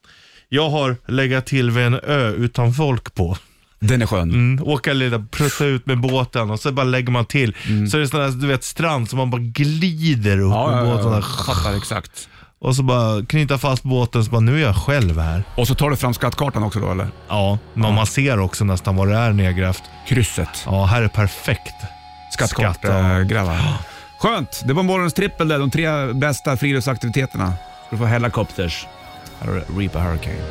C: Jag har legat till vid en ö utan folk på.
B: Den är skön.
C: Mm, åka lite, prutta ut med båten och så bara lägger man till. Så är det sån där, du vet, strand som man bara glider upp
B: Mm. Ja,
C: med
B: ja,
C: båten.
B: ja, jag
C: där.
B: fattar exakt.
C: Och så bara knyta fast båten så bara, nu är jag själv här.
B: Och så tar du fram skattkartan också då eller?
C: Ja, men man ser också nästan vad det är nedgrävt.
B: Krysset.
C: Ja, här är perfekt. Skatt,
B: Skattkartgrävar. Skönt. Det var morgonens trippel där, de tre bästa friluftsaktiviteterna. Du får Helicopters. Här har du Reaper Hurricane.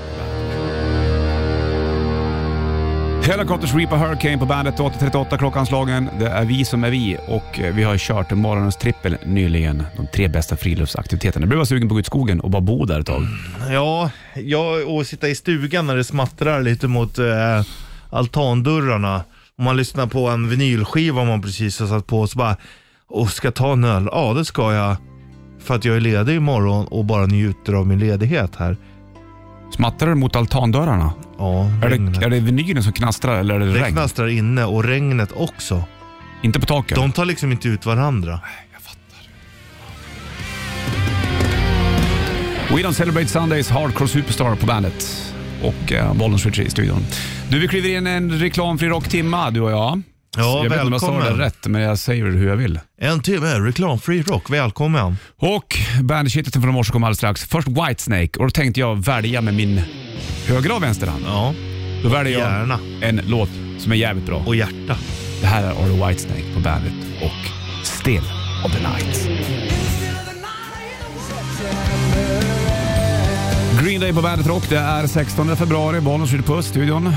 B: Helicopters Reaper Hurricane på bandet 8.38 klockanslagen. Det är vi som är vi och eh, vi har kört morgonens trippel nyligen. De tre bästa friluftsaktiviteterna. Jag blev bara sugen på att gå ut i skogen och bara bo där ett tag.
C: Ja, jag och sitta i stugan när det smattrar lite mot eh, altandörrarna. Om man lyssnar på en vinylskiva man precis har satt på och så bara, och ska ta en öl? Ja, det ska jag. För att jag är ledig imorgon och bara njuter av min ledighet här.
B: Smattrar du mot altandörrarna?
C: Ja,
B: Är
C: regnet.
B: det, är det vinylen som knastrar eller är det,
C: det
B: regn?
C: knastrar inne och regnet också.
B: Inte på taket?
C: De tar liksom inte ut varandra.
B: We don't celebrate Sundays hardcore superstar på bandet. Och eh, Bollens Retreat i studion. Du, vi kliver in en reklamfri rocktimma du och jag.
C: Ja,
B: jag vet inte om jag sa det
C: välkommen.
B: rätt, men jag säger det hur jag vill.
C: En timme reklamfri rock, välkommen.
B: Och bandshittet från morse kommer alldeles strax. Först Whitesnake och då tänkte jag välja med min högra och vänstra hand.
C: Ja,
B: Då väljer jag
C: gärna.
B: en låt som är jävligt bra.
C: Och hjärta.
B: Det här är Arlo Whitesnake på bandet och Still of the Night. Green Day på bandet Rock. Det är 16 februari. Barnen skjuter på studion.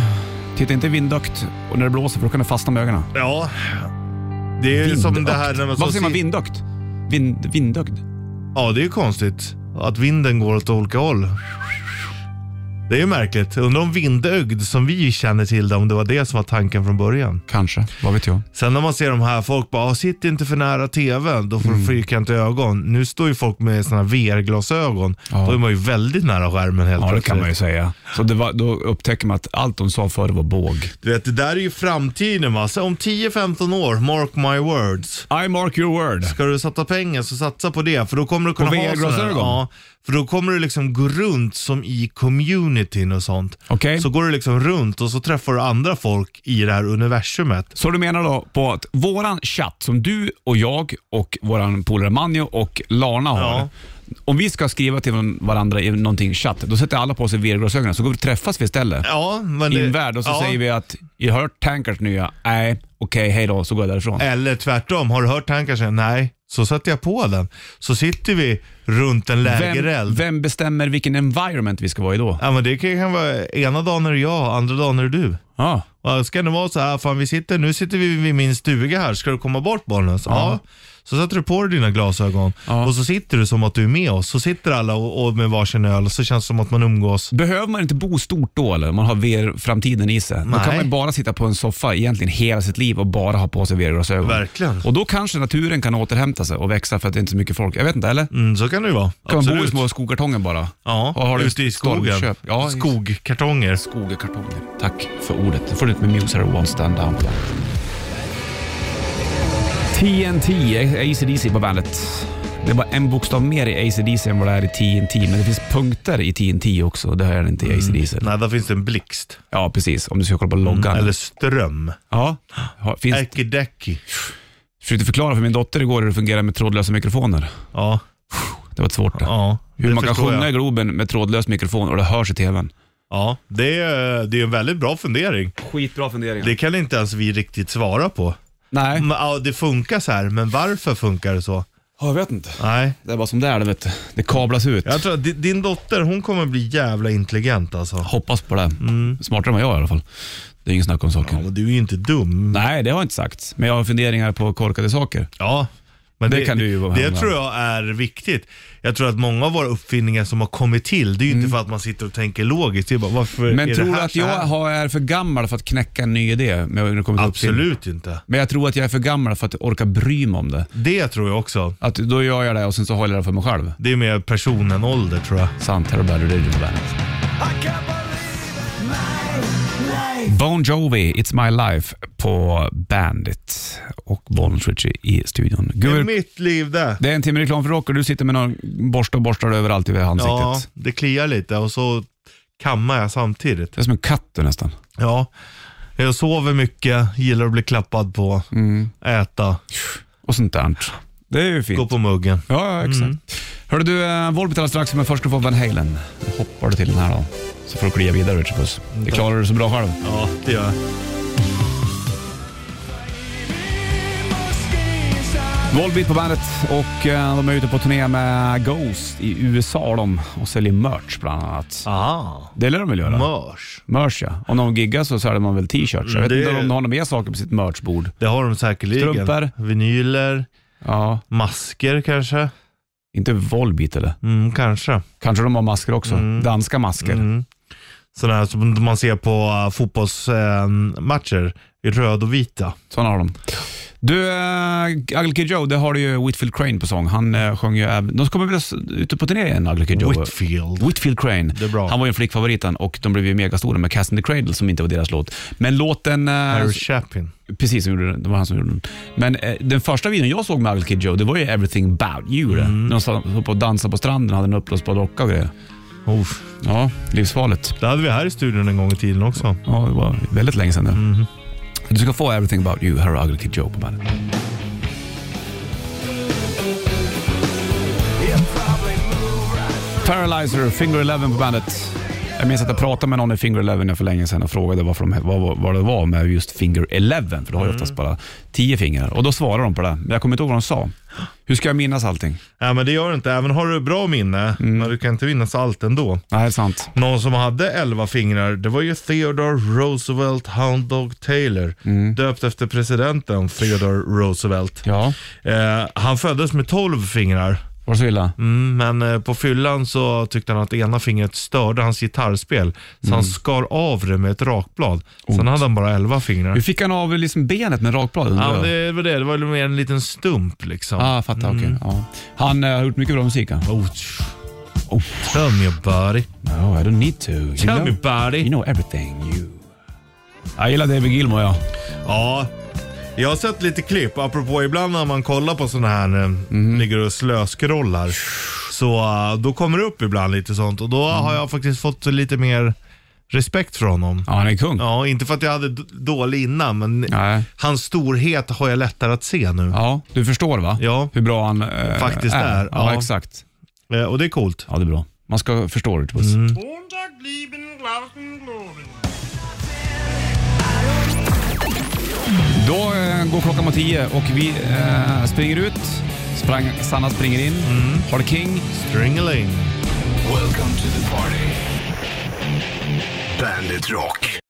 B: Titta inte i vindökt och när det blåser för då kan det fastna med ögonen.
C: Ja, det är ju som det här när man...
B: Varför säger man
C: så-
B: vindökt? Vind, vindökt?
C: Ja, det är ju konstigt att vinden går åt olika håll. Det är ju märkligt. Undrar om vindögd som vi känner till det, om det var det som var tanken från början.
B: Kanske, vad vet jag.
C: Sen när man ser de här, folk bara "Ah, “sitt inte för nära tvn, då får
B: Mm.
C: du fyrkantiga ögon”. Nu står ju folk med såna här VR-glasögon.
B: Ja.
C: Då är man ju väldigt nära skärmen helt
B: Ja, det
C: plötsligt.
B: kan man ju säga. Så det var, då upptäcker man att allt de sa förr var båg.
C: Du vet, det där är ju framtiden va. Så om 10-15 år, mark my words.
B: I mark your word.
C: Ska du satsa pengar så satsa på det, för då kommer du kunna ha
B: VR-glasögon?
C: sådana här- Ja, för då kommer du liksom gå runt som i communityn och sånt.
B: Okej.
C: Så går du liksom runt och så träffar du andra folk i det här universumet.
B: Så du menar då på att våran chatt som du och jag och våran polare Manjo och Larna har.
C: Ja.
B: Om vi ska skriva till varandra i någonting chatt, då sätter alla på sig VR-glasögonen så går vi och träffas vi istället.
C: Ja, men
B: I
C: det,
B: en värld och så
C: ja.
B: säger vi att jag har hört Tankers nya, nej, okej, hej då, så går jag därifrån.
C: Eller tvärtom, har du hört tankar sen? Nej, så sätter jag på den. Så sitter vi runt
B: Vem,
C: en lägereld.
B: vem bestämmer vilken environment vi ska vara i då?
C: Ja, men det kan kan vara ena dagen är det jag, andra dagen är det du.
B: Ja.
C: Ja, Ska det vara så här, fan vi sitter, nu sitter vi vid min stuga här, ska du komma bort barnen? Så, ja. Så sätter du på dig dina glasögon
B: Ja.
C: och så sitter du som att du är med oss. Så sitter alla och, och med varsin öl och så känns det som att man umgås.
B: Behöver man inte bo stort då eller? Om man har VR-framtiden i sig. Då kan
C: Nej.
B: man ju bara sitta på en soffa egentligen hela sitt liv och bara ha på sig VR-glasögon.
C: Verkligen.
B: Och då kanske naturen kan återhämta sig och växa för att det inte är så mycket folk. Jag vet inte, eller?
C: Mm, så kan det ju vara.
B: Kan man bo i
C: Absolut.
B: små skokartonger bara?
C: Ja,
B: Och har du
C: ute i skogen.
B: stormköp? Ja, i-
C: Skogkartonger.
B: Skogekartonger. Tack för ordet. Nu får du ut med Muse här och One Stand Down på bandet. TNT, ACDC på bandet. Det är bara en bokstav mer i ACDC än vad det är i TNT, men det finns punkter i TNT också. Det har jag inte i ACDC.
C: Nej, där finns det en blixt.
B: Ja, precis. Om du ska kolla på loggan.
C: Mm, Eller ström.
B: Ja. Har- Finns...
C: Äkidäki.
B: Försökte förklara för min dotter igår hur det fungerar med trådlösa mikrofoner.
C: Ja,
B: Det var svårt det.
C: ja.
B: hur
C: det
B: man kan
C: förstår
B: sjunga
C: jag.
B: i Globen med trådlös mikrofon och det hörs i TVn.
C: Ja, det är, det är en väldigt bra fundering.
B: Skitbra funderingar.
C: Det kan inte ens vi riktigt svara på.
B: Nej,
C: Men, ja, det funkar så här, men varför funkar det så?
B: Ja, jag vet inte.
C: Nej.
B: Det är bara som det är, det vet du. Det kablas ut.
C: Jag tror att di- din dotter, hon kommer bli jävla intelligent alltså.
B: Hoppas på det.
C: Mm.
B: Smartare än vad jag är i alla fall. Det är ingen snack om saken.
C: Och du är ju inte dum.
B: Nej, det har jag inte sagt. Men jag har funderingar på korkade saker.
C: Ja. Men
B: Det kan du ju vara
C: Det
B: hemma.
C: tror jag är viktigt. Jag tror att många av våra uppfinningar som har kommit till, det är ju inte för att man sitter och tänker logiskt. Det är bara, varför
B: Mm. Men
C: är
B: tror
C: det
B: du
C: här
B: att
C: så
B: jag
C: här?
B: har- är för gammal för att knäcka en ny idé? Med när det kommer till uppfinning?
C: Absolut inte.
B: Men jag tror att jag är för gammal för att orka bry mig om det.
C: Det tror jag också.
B: Att då gör jag det och sen så håller jag det för mig själv.
C: Det är mer person än ålder tror jag.
B: Sant, här har Bad Religion på bandet. Bon Jovi, It's My Life på Bandit och Bollnäs Ritchie i studion.
C: Det är
B: Gud,
C: mitt liv det.
B: det är en timme reklam för rock och du sitter med någon borste och borstar överallt i ansiktet.
C: Ja, det kliar lite och så kammar jag samtidigt.
B: Det är som en katt du nästan.
C: Ja, jag sover mycket, gillar att bli klappad på, äta,
B: Och sånt där. Det är ju fint.
C: gå på Mm. muggen.
B: Ja, ja, exakt. Hörde du, eh, Volbeat alldeles strax, men först ska du få Van Halen. Då hoppar du till den här då. Så får du klia vidare, Richard Puss.
C: Mm,
B: Det klarar du så bra själv.
C: Ja, det gör jag.
B: Volbeat på bandet och eh, de är ute på turné med Ghost i USA de, och säljer merch bland annat.
C: Aha.
B: Det lär de väl göra?
C: Ah, Mörs.
B: merch ja. Om de giggar så säljer man väl t-shirts. Jag vet
C: Mm, Det-
B: inte om de har några mer saker på sitt merchbord.
C: Det har de säkerligen.
B: Strumpor.
C: Vinyler,
B: Ja,
C: masker kanske.
B: inte Volbeat eller?
C: Mm, kanske.
B: Kanske de har masker också. Danska masker.
C: Mm. Sådana här som man ser på uh, fotbollsmatcher i röd och vita.
B: Sådana har de. Du, äh, Ugly Kid Joe, det har du ju Whitfield Crane på sång. Han äh, sjöng ju även... De kommer väl s- ute på turné igen, Ugly Kid Joe?
C: Whitfield.
B: Whitfield Crane.
C: är bra.
B: Han var ju en flickfavorit han, och de blev ju megastora med Cast in the Cradle som inte var deras låt. Men låten... äh,
C: Harry Chapin.
B: Precis, som gjorde den. det var han som gjorde den. Men eh, den första videon jag såg med Ugly Kid Joe, det var ju Everything About You. det. När de stod på och dansade på stranden och hade en uppblåsbar docka och grejer.
C: Uff.
B: Ja, livsfarligt.
C: Det hade vi här i studion en gång i tiden också.
B: Ja, det var väldigt länge sedan nu.
C: Mhm.
B: Du ska få Everything About You, här har Ugly Kid Joe på bandet. Paralyzer, Finger Eleven på bandet. Jag minns att jag pratade med någon i Finger Eleven för länge sedan och frågade varför de, vad, vad det var med just Finger Eleven, för du har ju
C: Mm.
B: oftast bara tio fingrar. Och då svarade de på det, men jag kommer inte ihåg vad de sa. Hur ska jag minnas allting?
C: Nej, men det gör det inte. Även har du bra minne, men du kan inte minnas allt ändå.
B: Nej, det är sant.
C: Någon som hade elva fingrar, det var ju Theodore Roosevelt Hound Dog Taylor. Döpt efter presidenten Theodore Roosevelt.
B: Mm. Ja,
C: Eh, han föddes med tolv fingrar.
B: var det så illa?
C: Mm, men eh, på fyllan så tyckte han att ena fingret störde hans gitarrspel. Så han
B: Mm.
C: skar av det med ett rakblad. Sen hade han bara elva fingrar.
B: Hur fick han av liksom benet med rakbladet? undrar
C: Ja,
B: jag?
C: det var det. Det var ju mer en liten stump liksom.
B: Ja, ah, fattar. Okej. Ja. Han eh, har gjort mycket bra musik. Han.
C: Oh, tsch. Tell me about it.
B: No, I don't need to. You
C: Tell
B: know,
C: me about
B: you
C: it.
B: know everything you... Jag gillar David Gilmore, ja.
C: Ja, jag har sett lite klipp. Apropå ibland när man kollar på sådana här, eh, ligger och slöskrollar. Så eh, då kommer det upp ibland lite sånt och då har jag faktiskt fått lite mer respekt för honom.
B: Ja, han är kung.
C: Ja, inte för att jag hade d- dålig innan, men
B: Nej.
C: hans storhet har jag lättare att se nu.
B: Ja, du förstår va?
C: Ja.
B: Hur bra han eh,
C: Faktiskt är,
B: Ja,
C: ja.
B: exakt.
C: Eh, Och det är coolt.
B: Ja, det är bra. Man ska förstå det. Mm. Då eh, går klockan mot tio och vi eh, springer ut. Sprang, Sanna springer in.
C: Mm.
B: Har det King.
C: Stringeling.
A: Welcome to the party. Bandit Rock.